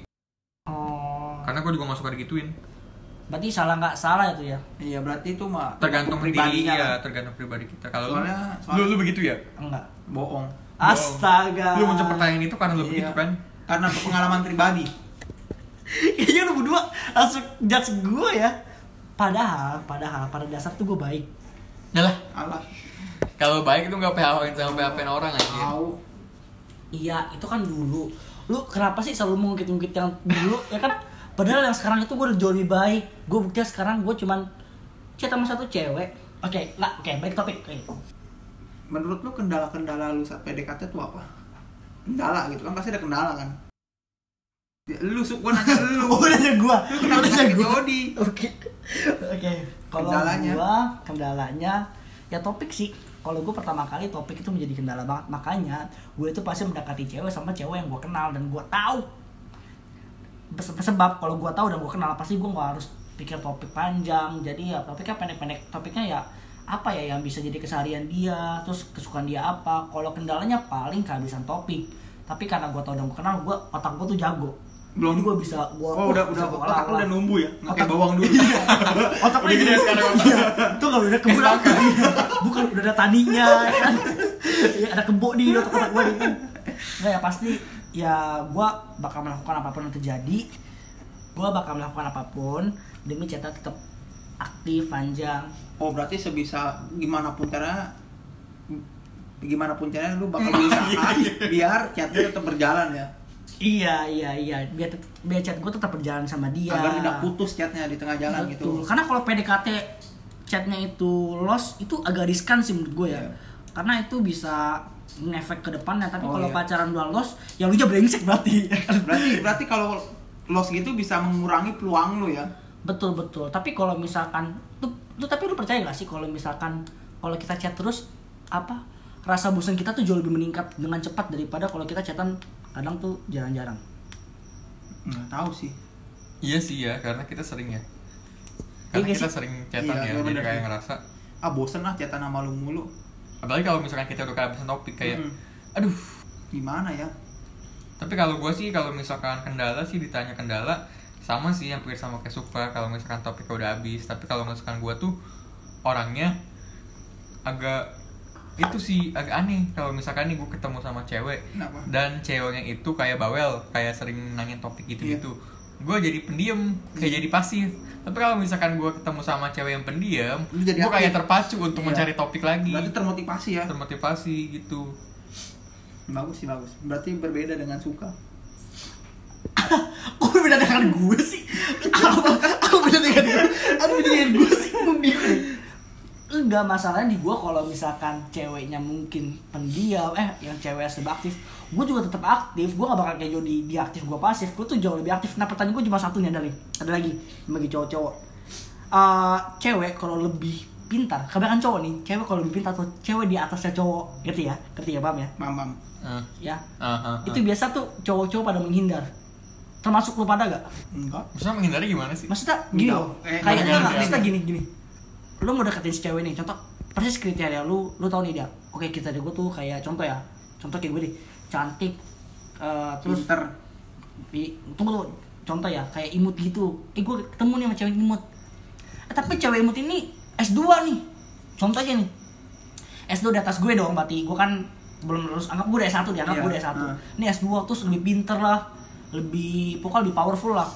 Speaker 2: Oh.
Speaker 3: karena gue juga gak suka digituin
Speaker 2: Berarti salah nggak salah itu ya.
Speaker 1: Iya berarti itu mah
Speaker 3: tergantung diri
Speaker 1: pribadinya
Speaker 3: ya
Speaker 1: kan.
Speaker 3: tergantung pribadi kita kalau lu,
Speaker 1: Soalnya-
Speaker 3: lu
Speaker 1: soalnya-
Speaker 3: lu begitu ya
Speaker 2: Enggak.
Speaker 1: bohong.
Speaker 2: Astaga.
Speaker 3: lu muncul pertanyaan itu karena lu
Speaker 1: Iya.
Speaker 3: begitu kan
Speaker 1: Karena pengalaman pribadi.
Speaker 2: Kayaknya lu berdua langsung judge gue ya. Padahal, padahal pada dasar tuh gue baik.
Speaker 3: ya lah
Speaker 1: Allah
Speaker 3: kalau baik itu nggak php sama php orang aja
Speaker 1: tahu.
Speaker 2: Iya, itu kan dulu. Lu kenapa sih selalu mengungkit-ungkit yang dulu ya kan? Padahal yang sekarang itu gue udah jauh lebih baik. Gue buktinya sekarang gue cuman chat sama satu cewek. Oke, nggak, oke, baik topik. Oke.
Speaker 1: Menurut lu kendala-kendala lu saat PDKT itu apa? Kendala gitu kan pasti ada kendala kan. iya. Ya, Lu suka gua nanya [laughs] lu.
Speaker 2: Oh, [laughs] udah aja gua.
Speaker 1: Kenapa
Speaker 2: Udah aja
Speaker 1: sakit
Speaker 2: gua.
Speaker 1: Jody?
Speaker 2: Oke. Oke. Kalau
Speaker 1: Kendalanya?
Speaker 2: gua kendalanya ya topik sih. Kalau gue pertama kali topik itu menjadi kendala banget. Makanya gue itu pasti mendekati cewek sama cewek yang gue kenal dan gue tahu. Bes- Sebab kalau gue tahu dan gue kenal pasti gue nggak harus pikir topik panjang. Jadi ya topiknya pendek-pendek. Topiknya ya apa ya yang bisa jadi keseharian dia, terus kesukaan dia apa. Kalau kendalanya paling kehabisan topik. Tapi karena gue tahu dan gue kenal, gue otak gue tuh jago.
Speaker 1: Belum.
Speaker 2: Jadi gue bisa gue
Speaker 1: Oh, udah udah otak lu udah numbu ya. Enggak kayak
Speaker 2: Otak-
Speaker 1: bawang dulu.
Speaker 2: otak
Speaker 3: Udah gede sekarang otak.
Speaker 2: Iya, itu nggak udah kebun
Speaker 3: Kayak
Speaker 2: bukan udah ada taninya ya kan? Ya, ada kebo di otak otak gue gitu nggak ya pasti ya gue bakal melakukan apapun yang terjadi gue bakal melakukan apapun demi cetak tetap aktif panjang
Speaker 1: Oh, berarti sebisa gimana pun caranya gimana pun caranya lu bakal berusaha biar chatnya tetap berjalan ya.
Speaker 2: iya iya iya biar tet- biar chat gue tetap berjalan sama dia
Speaker 1: Agar tidak putus chatnya di tengah jalan
Speaker 2: Betul.
Speaker 1: gitu.
Speaker 2: Karena kalau PDKT chatnya itu lost itu agak riskan sih menurut gue ya.
Speaker 1: Iya.
Speaker 2: Karena itu bisa ngefek ke depannya. Tapi
Speaker 1: Oh,
Speaker 2: kalau
Speaker 1: iya.
Speaker 2: pacaran dua lost, ya lu aja brengsek berarti. [laughs]
Speaker 1: Berarti berarti kalau los gitu bisa mengurangi peluang lu ya.
Speaker 2: betul betul. Tapi kalau misalkan, tuh, tuh, tapi lu percaya gak sih kalau misalkan kalau kita chat terus apa rasa bosan kita tuh jauh lebih meningkat dengan cepat daripada kalau kita chatan kadang tuh jarang-jarang.
Speaker 1: Nggak tahu sih.
Speaker 3: iya sih ya karena kita sering ya
Speaker 2: Iya
Speaker 3: karena
Speaker 2: sih.
Speaker 3: kita sering
Speaker 1: Iya,
Speaker 3: chatan ya
Speaker 1: iya
Speaker 3: jadi
Speaker 1: bener
Speaker 3: kayak
Speaker 1: sih.
Speaker 3: ngerasa
Speaker 1: Ah bosen lah chatan sama lu mulu.
Speaker 3: apalagi kalau misalkan kita udah kehabisan topik kayak
Speaker 1: Mm.
Speaker 3: aduh
Speaker 1: Gimana ya?
Speaker 3: tapi kalau gue sih kalau misalkan kendala sih ditanya kendala sama sih yang pikir sama kayak Supa kalau misalkan topiknya udah habis tapi kalau misalkan gue tuh orangnya agak itu sih agak aneh kalau misalkan nih gue ketemu sama cewek
Speaker 1: Kenapa?
Speaker 3: dan ceweknya itu kayak bawel kayak sering nanya topik gitu gitu
Speaker 1: Iya.
Speaker 3: gue jadi pendiam kayak jadi pasif tapi kalau misalkan gue ketemu sama cewek yang pendiam
Speaker 1: Lu jadi
Speaker 3: gue kayak
Speaker 1: aktif.
Speaker 3: terpacu untuk
Speaker 1: Iya.
Speaker 3: mencari topik lagi
Speaker 1: Berarti termotivasi ya.
Speaker 3: termotivasi gitu
Speaker 1: Bagus sih bagus. Berarti berbeda dengan suka.
Speaker 2: Kok lu beda dengan gue sih? Apa? Apa beda dengan gue? Apa beda dengan gue sih? Gue bingung. Enggak masalahnya di gue kalau misalkan ceweknya mungkin pendiam, eh yang cewek sebab aktif, gue juga tetap aktif. Gue gak bakal kayak jadi dia aktif, gue pasif. Gue tuh jauh lebih aktif. Nah pertanyaan gue cuma satu nih ada nih, ada lagi bagi cowok-cowok. Eh, cewek kalau lebih pintar, kebanyakan cowok nih, cewek kalau lebih pintar atau cewek di atasnya cowok, ngerti ya? Ngerti ya, paham ya?
Speaker 1: Mamam.
Speaker 3: Ah,
Speaker 2: Ya,
Speaker 3: ah, ah, ah.
Speaker 2: itu biasa tuh cowok-cowok pada menghindar. Termasuk lu pada gak?
Speaker 1: Enggak.
Speaker 3: maksudnya menghindari gimana sih
Speaker 2: Maksudnya gini
Speaker 1: Enggak.
Speaker 2: loh,
Speaker 1: Eh,
Speaker 2: kayak
Speaker 3: enggak,
Speaker 2: enggak,
Speaker 3: enggak.
Speaker 2: maksudnya gini gini. Lu mau deketin si cewek nih, contoh persis kriteria lu, lu tahu nih dia. Oke, kita gue tuh kayak contoh ya. Contoh kayak gue deh, cantik eh, terus
Speaker 1: Pinter.
Speaker 2: i- tunggu tuh contoh ya kayak imut gitu. Eh gue ketemu nih sama cewek imut. Eh, tapi cewek imut ini S2 nih. Contoh aja nih. S2 di atas gue dong berarti. Gue kan belum lulus, anggap gue udah S1 dianggap
Speaker 1: Iya,
Speaker 2: gue udah S1.
Speaker 1: heeh.
Speaker 2: Ini S2 terus lebih pinter lah. Lebih pokoknya lebih powerful lah.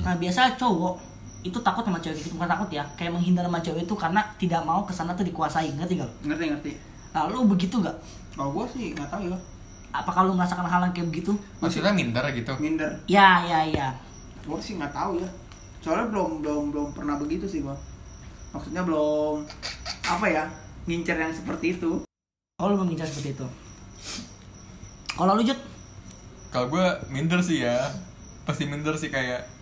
Speaker 2: Nah biasa cowok itu takut sama cewek gitu bukan takut ya kayak menghindar sama cewek itu karena tidak mau kesana tuh dikuasai ngerti gak? lo?
Speaker 1: Ngerti ngerti.
Speaker 2: Nah, lu begitu gak?
Speaker 1: Kalau gua sih nggak tahu ya.
Speaker 2: Apakah lu merasakan hal yang kayak begitu?
Speaker 3: maksudnya minder gitu
Speaker 1: Minder.
Speaker 2: Ya ya ya.
Speaker 1: Gua sih nggak tahu ya. Soalnya belum belum belum pernah begitu sih gua. Maksudnya belum apa ya? Ngincer yang seperti itu.
Speaker 2: Oh lu mengincar seperti itu. Kalau lu jut,
Speaker 3: kalau gue minder sih ya pasti minder sih kayak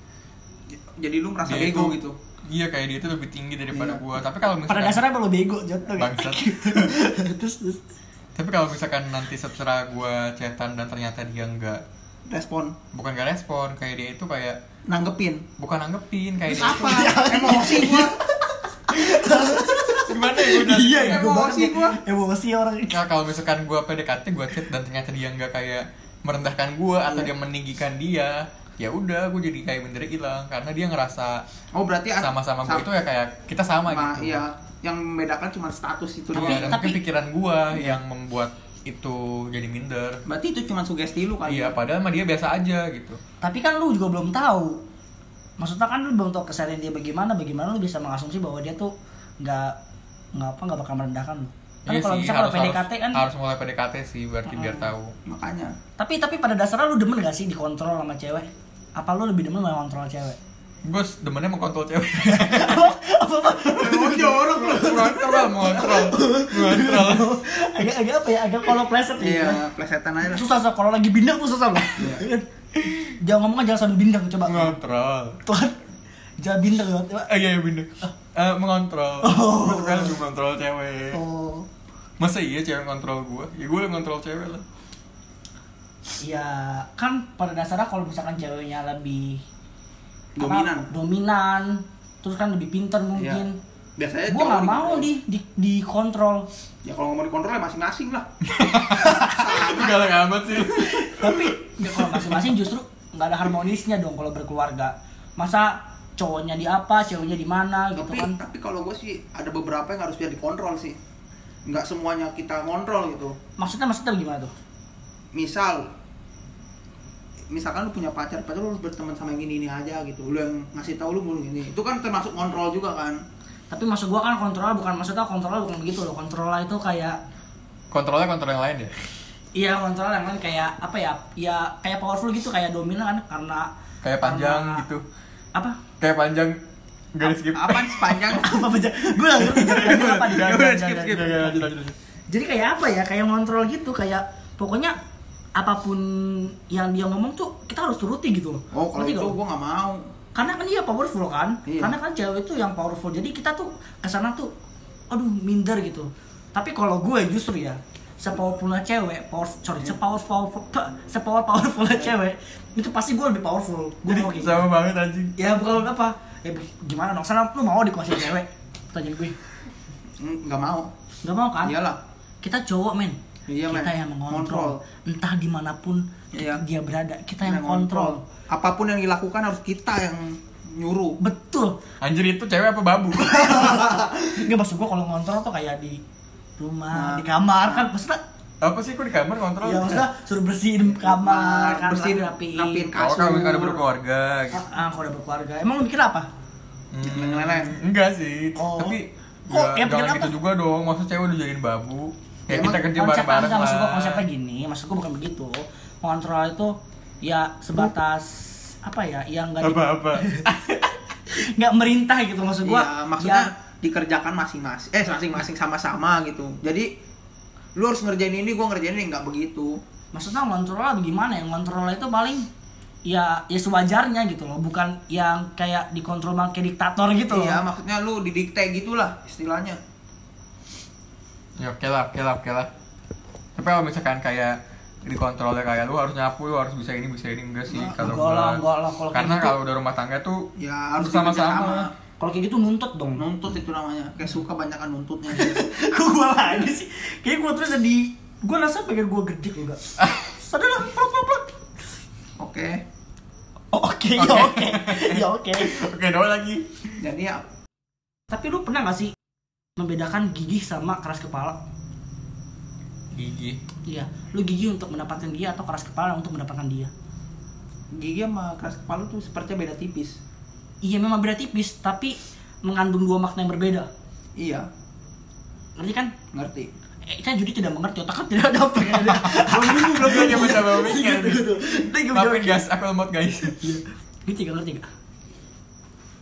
Speaker 1: Jadi lu merasa
Speaker 3: Dia
Speaker 1: bego
Speaker 3: itu-
Speaker 1: gitu.
Speaker 3: iya kayak dia itu lebih tinggi daripada
Speaker 2: Iya.
Speaker 3: gua tapi kalau
Speaker 2: pada
Speaker 3: misalkan
Speaker 2: dasarnya emang lo bego jatuh kan
Speaker 3: Bangsat.
Speaker 2: [laughs] terus, terus
Speaker 3: tapi kalau misalkan nanti setelah gua cetan dan ternyata dia nggak
Speaker 2: respon
Speaker 3: bukan nggak respon kayak dia itu kayak
Speaker 2: nanggepin
Speaker 3: bukan nanggepin kayak
Speaker 4: Terus
Speaker 3: dia
Speaker 1: [laughs]
Speaker 4: apa?
Speaker 1: Iya kan?
Speaker 4: Emosi gua.
Speaker 3: gimana ya gua udah
Speaker 4: ya,
Speaker 2: ego
Speaker 4: emosi
Speaker 2: banget ya.
Speaker 4: gua.
Speaker 2: emosi orang
Speaker 3: Nah, kalau misalkan gua PDKT gua chat dan ternyata dia nggak kayak merendahkan gua atau dia meninggikan dia ya udah gua jadi kayak bener hilang karena dia ngerasa
Speaker 4: Oh berarti ad-
Speaker 3: sama-sama
Speaker 4: sam-
Speaker 3: gua itu ya kayak kita sama
Speaker 4: sama,
Speaker 3: gitu
Speaker 4: iya. Yang membedakan cuma status itu
Speaker 3: Iya,
Speaker 2: Tapi-
Speaker 4: doang.
Speaker 3: dan mungkin pikiran gua yang membuat itu jadi minder
Speaker 4: Berarti itu cuma sugesti lu kali.
Speaker 2: gitu.
Speaker 3: iya padahal mah dia biasa aja gitu
Speaker 2: tapi kan lu juga belum tahu maksudnya kan lu belum tahu keseharian dia bagaimana bagaimana lu bisa mengasumsi bahwa dia tuh nggak nggak apa nggak bakal merendahkan lu kan
Speaker 3: Iya
Speaker 2: kalau
Speaker 3: sih,
Speaker 2: bisa kalau
Speaker 3: harus- harus-
Speaker 2: PDKT kan
Speaker 3: harus mulai PDKT sih berarti biar tahu
Speaker 4: Makanya.
Speaker 2: tapi tapi pada dasarnya lu demen gak sih dikontrol sama cewek apa lu lebih demen sama kontrol
Speaker 3: [laughs]
Speaker 2: cewek
Speaker 3: gue demennya mengkontrol cewek
Speaker 2: apa apa
Speaker 4: Emosi jorok lu.
Speaker 3: kontrol mengontrol mengontrol
Speaker 2: agak agak apa ya agak kalau pleset gitu
Speaker 4: Iya, plesetan aja lah.
Speaker 2: susah susah kalau lagi bintang tuh susah loh jangan ngomong jangan sambil bintang coba
Speaker 3: Iya. mengontrol
Speaker 2: tuhan jangan bintang ya coba.
Speaker 3: Ah, iya iya bener Eh, mengontrol gue suka lebih mengontrol cewek
Speaker 2: oh
Speaker 3: masa iya cewek ngontrol gue ya gue ngontrol cewek lah
Speaker 4: Iya.
Speaker 2: ya kan pada dasarnya kalau misalkan ceweknya lebih apa,
Speaker 4: Dominan. Iya.
Speaker 2: dominan terus kan lebih pinter mungkin
Speaker 4: Biasanya
Speaker 2: gua nggak
Speaker 4: cowok
Speaker 2: mau
Speaker 4: dikontrol.
Speaker 2: di di dikontrol
Speaker 4: Ya kalau ngomong dikontrol ya masing-masing lah.
Speaker 3: itu galak amat sih
Speaker 2: tapi ya kalau masing-masing justru nggak ada harmonisnya dong kalau berkeluarga masa cowoknya di apa ceweknya di mana gitu
Speaker 4: tapi
Speaker 2: kan
Speaker 4: tapi kalau gue sih ada beberapa yang harus biar dikontrol sih nggak semuanya kita kontrol gitu
Speaker 2: maksudnya maksudnya gimana tuh
Speaker 4: misal misalkan lu punya pacar pacar lu harus berteman sama yang ini ini aja gitu lu yang ngasih tahu lu mulu ini itu kan termasuk kontrol juga kan
Speaker 2: tapi maksud gua kan kontrol bukan maksudnya kontrol bukan begitu loh kontrol itu kayak
Speaker 3: kontrolnya kontrol yang lain ya
Speaker 2: Iya kontrol yang lain kayak apa ya? Ya kayak powerful gitu kayak dominan kan karena
Speaker 3: Kayak panjang
Speaker 2: karena-
Speaker 3: gitu.
Speaker 2: Apa? [laughs]
Speaker 3: kayak panjang garis gitu. skip
Speaker 4: apa sepanjang
Speaker 2: Apa panjang? Gue nggak
Speaker 3: [laughs]
Speaker 2: ngerti cara panjang apa nih.
Speaker 3: Jangan,
Speaker 2: Jangan,
Speaker 3: jangan,
Speaker 2: jangan,
Speaker 3: skip, Iya,
Speaker 2: jangan.
Speaker 3: lanjut, lanjut, lanjut.
Speaker 2: Jadi kayak apa ya? Kayak ngontrol gitu kayak pokoknya apapun yang dia ngomong tuh kita harus turuti gitu loh.
Speaker 4: oh kalau
Speaker 2: Ngerti
Speaker 4: itu
Speaker 2: nggak lo?
Speaker 4: gue nggak mau
Speaker 2: karena kan dia powerful kan
Speaker 4: Iya.
Speaker 2: karena kan cewek itu yang powerful jadi kita tuh kesana tuh aduh minder gitu tapi kalau gue justru ya sepowerfulnya cewek power sorry sepower powerful sepower powerfulnya cewek itu pasti gue lebih powerful gue
Speaker 3: jadi
Speaker 2: mau kayak gitu.
Speaker 3: sama banget anjing
Speaker 2: ya bukan apa ya gimana dong sana lu mau dikuasain cewek pertanyaan gue
Speaker 4: Mm, nggak mau
Speaker 2: nggak mau kan
Speaker 4: iyalah
Speaker 2: kita cowok men
Speaker 4: Iya,
Speaker 2: kita
Speaker 4: men.
Speaker 2: yang mengontrol entah dimanapun
Speaker 4: Iya.
Speaker 2: dia berada kita yang
Speaker 4: Yang
Speaker 2: kontrol
Speaker 4: apapun yang dilakukan harus kita yang nyuruh
Speaker 2: betul
Speaker 3: anjir itu cewek apa babu
Speaker 2: Enggak maksud gua kalau ngontrol tuh kayak di rumah,
Speaker 4: Nah.
Speaker 2: di kamar kan maksudnya
Speaker 3: [laughs] apa sih kok di kamar kontrol
Speaker 2: ya maksudnya suruh bersihin kamar, kan
Speaker 4: bersihin
Speaker 2: rapi.
Speaker 4: rapiin
Speaker 3: kalau
Speaker 4: kasur
Speaker 3: kamu nggak ada berkeluarga gitu Hmm.
Speaker 2: Ah, ah, kalau udah berkeluarga. Emang lu mikir apa? Ah,
Speaker 4: Yang lain-lain.
Speaker 3: enggak sih
Speaker 2: Oh.
Speaker 3: tapi
Speaker 2: Oh,
Speaker 3: nggak-
Speaker 2: ya,
Speaker 3: jangan
Speaker 2: kenapa?
Speaker 3: gitu juga dong masa cewek udah jadiin babu ya
Speaker 4: Emang
Speaker 3: kita kerja
Speaker 2: Konsep
Speaker 3: bareng-bareng
Speaker 2: enggak,
Speaker 3: lah
Speaker 2: maksud gua konsepnya gini, maksud gua bukan begitu. Ngontrol itu ya sebatas apa ya yang enggak [laughs]
Speaker 3: apa-apa
Speaker 2: enggak merintah gitu maksud gua. Ya,
Speaker 4: Iya, maksudnya dikerjakan masing-masing. Eh, masing-masing sama-sama gitu. Jadi lu harus ngerjain ini, gua ngerjain ini nggak begitu.
Speaker 2: maksudnya ngontrol lah gimana ya ngontrol itu paling ya ya sewajarnya gitu loh bukan yang kayak dikontrol banget kayak diktator gitu loh
Speaker 4: Iya, maksudnya lu didikte gitulah istilahnya.
Speaker 3: ya oke lah oke lah oke lah tapi kalau misalkan kayak dikontrolnya kayak lu harus nyapu lu harus bisa ini bisa ini enggak sih
Speaker 4: Enggak,
Speaker 3: kalau
Speaker 2: enggak lah,
Speaker 3: gua
Speaker 2: enggak lah. Kalau kayak
Speaker 3: karena
Speaker 2: gitu-
Speaker 3: kalau udah rumah tangga tuh
Speaker 4: Ya, harus
Speaker 3: sama-sama
Speaker 4: dikerja
Speaker 2: kalau kayak gitu nuntut dong
Speaker 4: sama. Nuntut itu namanya. Kayak suka banyakan nuntutnya.
Speaker 2: kok gue lagi sih kayak gue terus jadi gue rasa pengen gue gede juga sadar lah plak plak plak
Speaker 4: Oke.
Speaker 2: Oh, oke ya oke ya oke
Speaker 3: oke doa lagi
Speaker 4: Jadi ya
Speaker 2: tapi lu pernah gak sih membedakan gigih sama keras kepala
Speaker 3: gigi
Speaker 2: iya lu gigih untuk mendapatkan dia atau keras kepala untuk mendapatkan dia
Speaker 4: gigi sama keras kepala tuh sepertinya beda tipis.
Speaker 2: iya memang beda tipis tapi mengandung dua makna yang berbeda
Speaker 4: Iya,
Speaker 2: ngerti kan
Speaker 4: ngerti.
Speaker 2: Eh, kita jadi tidak mengerti otak kan tidak ada Iya, gitu. pengennya
Speaker 3: [laughs] belum lagi sama sama mikir
Speaker 2: gitu gitu
Speaker 3: tapi guys aku lemot guys [laughs]
Speaker 2: gitu gak ngerti gak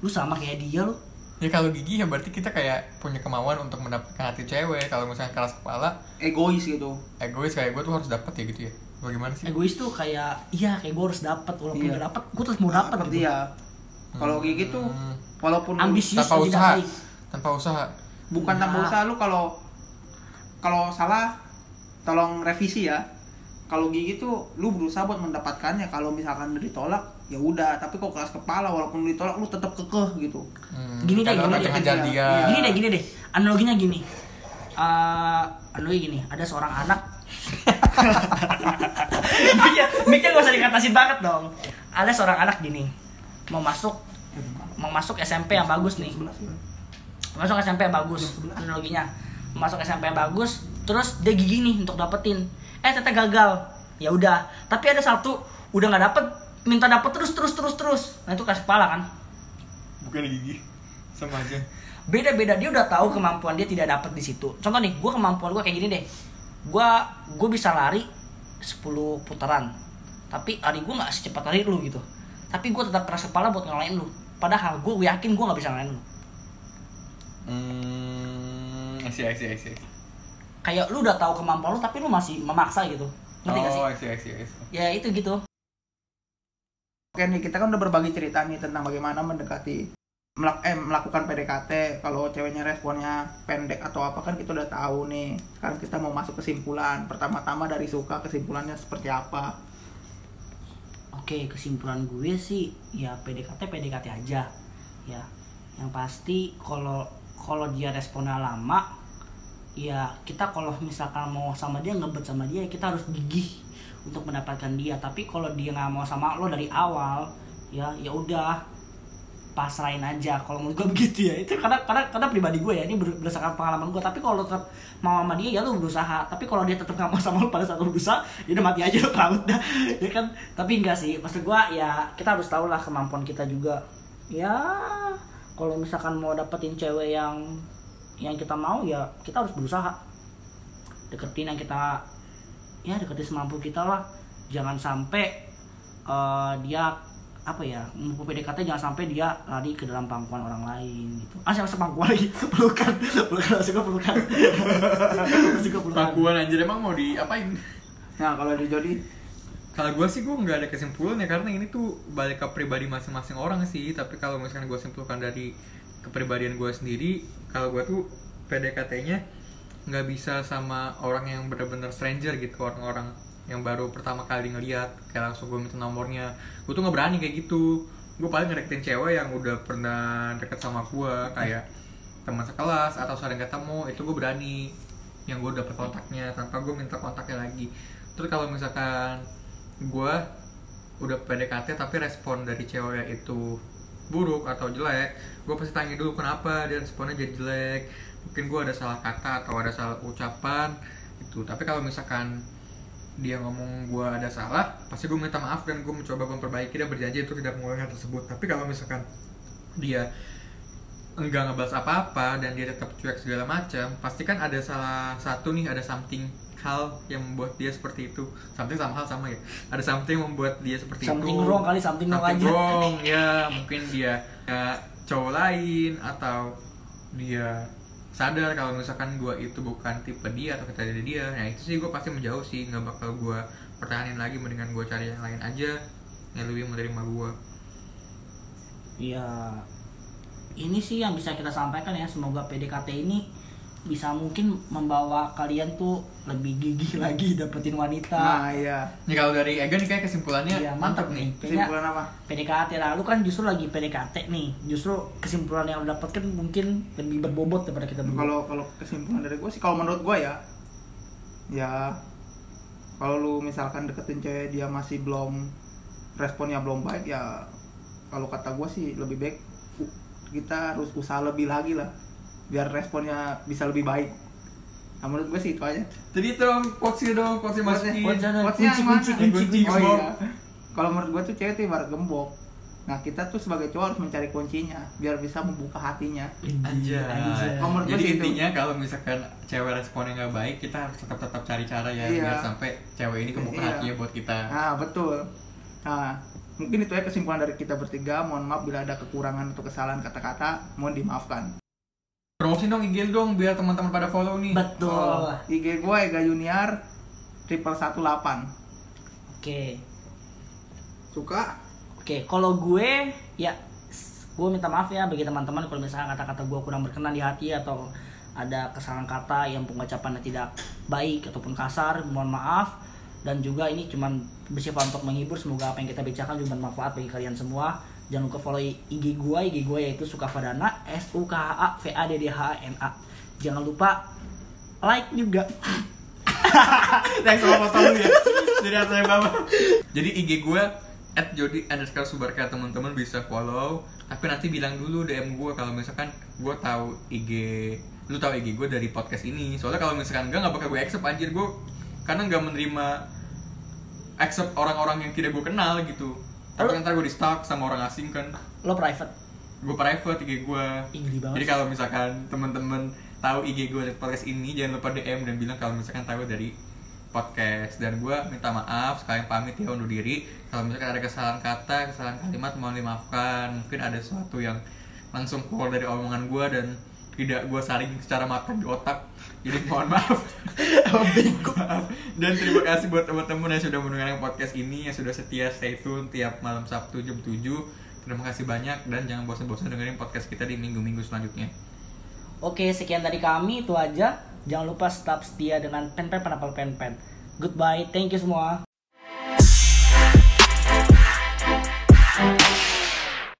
Speaker 2: lu sama kayak dia lu
Speaker 3: ya kalau gigi ya berarti kita kayak punya kemauan untuk mendapatkan hati cewek kalau misalnya keras kepala
Speaker 4: Egois gitu.
Speaker 3: egois kayak gue tuh harus dapat ya gitu ya bagaimana sih
Speaker 2: egois tuh kayak iya kayak gue harus dapat walaupun
Speaker 4: Iya.
Speaker 2: gak dapat gue terus mau dapat
Speaker 1: iya.
Speaker 4: Seperti
Speaker 2: gitu.
Speaker 4: ya Kalau gigit tuh
Speaker 1: Hmm.
Speaker 4: walaupun lu-
Speaker 1: tanpa
Speaker 2: Ambisius dan tidak
Speaker 1: usaha
Speaker 2: baik.
Speaker 1: tanpa usaha
Speaker 4: bukan tanpa
Speaker 2: Nah.
Speaker 4: usaha lu kalau kalau salah tolong revisi ya. Kalau gigi tuh lu berusaha buat mendapatkannya. Kalau misalkan ditolak ya udah, tapi kok keras kepala walaupun lu ditolak lu tetap kekeh gitu.
Speaker 1: Hmm.
Speaker 2: Gini deh,
Speaker 1: Kadang kadang
Speaker 2: gini deh.
Speaker 1: ajar dia
Speaker 4: Iya.
Speaker 2: Gini deh, gini deh. Analoginya gini. Eh, analogi gini, ada seorang anak. Miknya, miknya gak usah dikatasin banget dong. Ada seorang anak gini, mau masuk, mau masuk SMP yang bagus nih.
Speaker 4: Sebelas ya.
Speaker 2: masuk SMP yang bagus analoginya masuk SMP yang bagus terus dia gigi nih untuk dapetin eh ternyata gagal ya udah tapi ada satu udah nggak dapet minta dapet terus terus terus terus nah itu keras kepala kan
Speaker 3: bukan gigi sama aja
Speaker 2: beda beda dia udah tahu kemampuan dia tidak dapet di situ contoh nih gue kemampuan gue kayak gini deh gue gue bisa lari 10 putaran tapi lari gue nggak secepat lari lu gitu tapi gue tetap keras kepala buat ngalahin lu padahal gue yakin gue nggak bisa ngalahin lu
Speaker 3: hmm I see I see I see
Speaker 2: kayak lu udah tahu kemampuan lu tapi lu masih memaksa gitu ngerti gak sih
Speaker 3: oh I see I see I see
Speaker 2: ya itu gitu
Speaker 4: Oke nih, kita kan udah berbagi cerita nih tentang bagaimana mendekati melak eh, melakukan PDKT kalau ceweknya responnya pendek atau apa kan kita udah tahu nih. Sekarang kita mau masuk kesimpulan. Pertama-tama dari suka kesimpulannya seperti apa?
Speaker 2: Oke, kesimpulan gue sih ya PDKT PDKT aja. Ya. Yang pasti kalau kalau dia responnya lama ya kita kalau misalkan mau sama dia ngebet sama dia kita harus gigih untuk mendapatkan dia. Tapi kalau dia nggak mau sama lo dari awal ya ya udah pasrahin aja kalau menurut gue [laughs] begitu ya itu karena karena karena pribadi gue ya ini ber- berdasarkan pengalaman gue tapi kalau lo tetap mau sama dia ya lo berusaha tapi kalau dia tetap nggak mau sama lo pada saat lo berusaha ya udah mati aja [laughs] lo kelaut dah ya kan tapi enggak sih maksud gue ya kita harus tahu lah kemampuan kita juga ya kalau misalkan mau dapetin cewek yang yang kita mau ya kita harus berusaha deketin yang kita ya deketin semampu kita lah jangan sampai eh, dia apa ya mampu PDKT jangan sampai dia lari ke dalam pangkuan orang lain gitu ah siapa sepangkuan lagi [laughs] pelukan pelukan masuk ke pelukan [laughs] masuk ke pelukan
Speaker 3: Pakuan anjir emang mau diapain?
Speaker 4: Nah, kalau di Jody
Speaker 3: Kalau gue sih gue nggak ada kesimpulannya karena ini tuh balik ke pribadi masing-masing orang sih. Tapi kalau misalkan gue simpulkan dari kepribadian gue sendiri, kalau gue tuh PDKT-nya nggak bisa sama orang yang bener-bener stranger gitu, orang-orang yang baru pertama kali ngeliat kayak langsung gue minta nomornya gue tuh nggak berani kayak gitu gue paling ngedeketin cewek yang udah pernah deket sama gue kayak teman sekelas atau sering ketemu itu gue berani yang gue dapet kontaknya tanpa gue minta kontaknya lagi terus kalau misalkan gue udah PDKT tapi respon dari cewek itu buruk atau jelek gue pasti tanya dulu kenapa dia responnya jadi jelek mungkin gue ada salah kata atau ada salah ucapan itu tapi kalau misalkan dia ngomong gue ada salah pasti gue minta maaf dan gue mencoba memperbaiki dan berjanji itu tidak mengulangi hal tersebut tapi kalau misalkan dia enggak ngebahas apa-apa dan dia tetap cuek segala macam pasti kan ada salah satu nih ada something hal yang membuat dia seperti itu something sama hal sama ya ada something yang membuat dia seperti
Speaker 2: Something
Speaker 3: itu
Speaker 2: wrong kali, something wrong aja.
Speaker 3: wrong, ya mungkin dia ya, cowok lain atau dia sadar kalau misalkan gua itu bukan tipe dia atau kita dari dia nah itu sih gua pasti menjauh sih nggak bakal gua pertahanin lagi mendingan gua cari yang lain aja yang lebih menerima gua
Speaker 2: Ya ini sih yang bisa kita sampaikan ya semoga PDKT ini bisa mungkin membawa kalian tuh lebih gigih [laughs] lagi dapetin wanita.
Speaker 4: Nah, iya.
Speaker 3: Nih kalau dari Ega nih kayak kesimpulannya
Speaker 2: Iya,
Speaker 3: mantap nih.
Speaker 2: Kayaknya-
Speaker 4: Kesimpulan apa?
Speaker 2: PDKT lah, lu kan justru lagi PDKT nih, justru kesimpulan yang lu dapatkan mungkin lebih berbobot daripada kita berdua.
Speaker 4: Kalau kalau kesimpulan dari gue sih kalau menurut gue ya ya kalau lu misalkan deketin cewek dia masih belum responnya belum baik ya kalau kata gue sih lebih baik u- kita harus usaha lebih lagi lah biar responnya bisa lebih baik. Nah, menurut gue sih itu aja.
Speaker 3: Jadi itu dong quotesnya dong quotesnya masukin.
Speaker 2: Quotesnya dong.
Speaker 4: Quotesnya yang mana?
Speaker 2: Kunci,
Speaker 3: kunci, kunci,
Speaker 4: Oh,
Speaker 3: gembok.
Speaker 4: iya. Kalau menurut gue tuh cewek tuh ibarat gembok. Nah kita tuh sebagai cowok harus mencari kuncinya biar bisa membuka hatinya.
Speaker 3: Aja.
Speaker 2: Anjay.
Speaker 4: Nomor
Speaker 3: Jadi
Speaker 4: dua sih itu.
Speaker 3: intinya kalau misalkan cewek responnya nggak baik, kita harus tetap tetap cari cara ya
Speaker 4: Iya.
Speaker 3: biar sampai cewek ini kebuka
Speaker 4: Iya.
Speaker 3: hatinya buat kita.
Speaker 4: Nah, betul. Nah, mungkin itu ya kesimpulan dari kita bertiga. Mohon maaf bila ada kekurangan atau kesalahan kata-kata, mohon dimaafkan.
Speaker 3: Promosi dong IG dong biar teman-teman pada follow nih.
Speaker 2: Betul.
Speaker 4: Oh, IG gue Ega Junior triple 18.
Speaker 2: Oke.
Speaker 4: Suka?
Speaker 2: Oke, kalau gue ya s- gue minta maaf ya bagi teman-teman kalau misalnya kata-kata gue kurang berkenan di hati atau ada kesalahan kata yang pengucapannya tidak baik ataupun kasar mohon maaf dan juga ini cuman bersifat untuk menghibur semoga apa yang kita bicarakan juga bermanfaat bagi kalian semua jangan lupa follow IG gua IG gua yaitu Sukavadana S U K H A V A D D H A N A jangan lupa like juga
Speaker 3: Thanks sama foto lu ya. Jadi atasnya bawah. Jadi IG gue at Jody underscore Subarka teman-teman bisa follow. Tapi nanti bilang dulu DM gue kalau misalkan gue tahu IG lu tahu IG gue dari podcast ini. Soalnya kalau misalkan enggak nggak bakal gue accept anjir gue karena nggak menerima accept orang-orang yang tidak gue kenal gitu. Tapi ntar gue di stalk sama orang asing kan.
Speaker 2: lo private
Speaker 3: Gue private IG gue.
Speaker 2: Ih, geli banget
Speaker 3: Jadi
Speaker 2: sih.
Speaker 3: kalau misalkan teman-teman tahu IG gue dari podcast ini jangan lupa DM dan bilang kalau misalkan tahu dari podcast dan gue minta maaf sekalian pamit ya undur diri kalau misalkan ada kesalahan kata kesalahan kalimat mohon dimaafkan mungkin ada sesuatu yang langsung keluar dari omongan gue dan tidak gue saring secara matang di otak jadi
Speaker 2: [laughs]
Speaker 3: mohon maaf Maaf. dan terima kasih buat teman-teman yang sudah mendengarkan podcast ini yang sudah setia stay tune tiap malam Sabtu jam 7 terima kasih banyak dan jangan bosan-bosan dengerin podcast kita di minggu-minggu selanjutnya
Speaker 2: oke sekian dari kami itu aja jangan lupa tetap setia dengan pen pen penapal pen pen goodbye thank you semua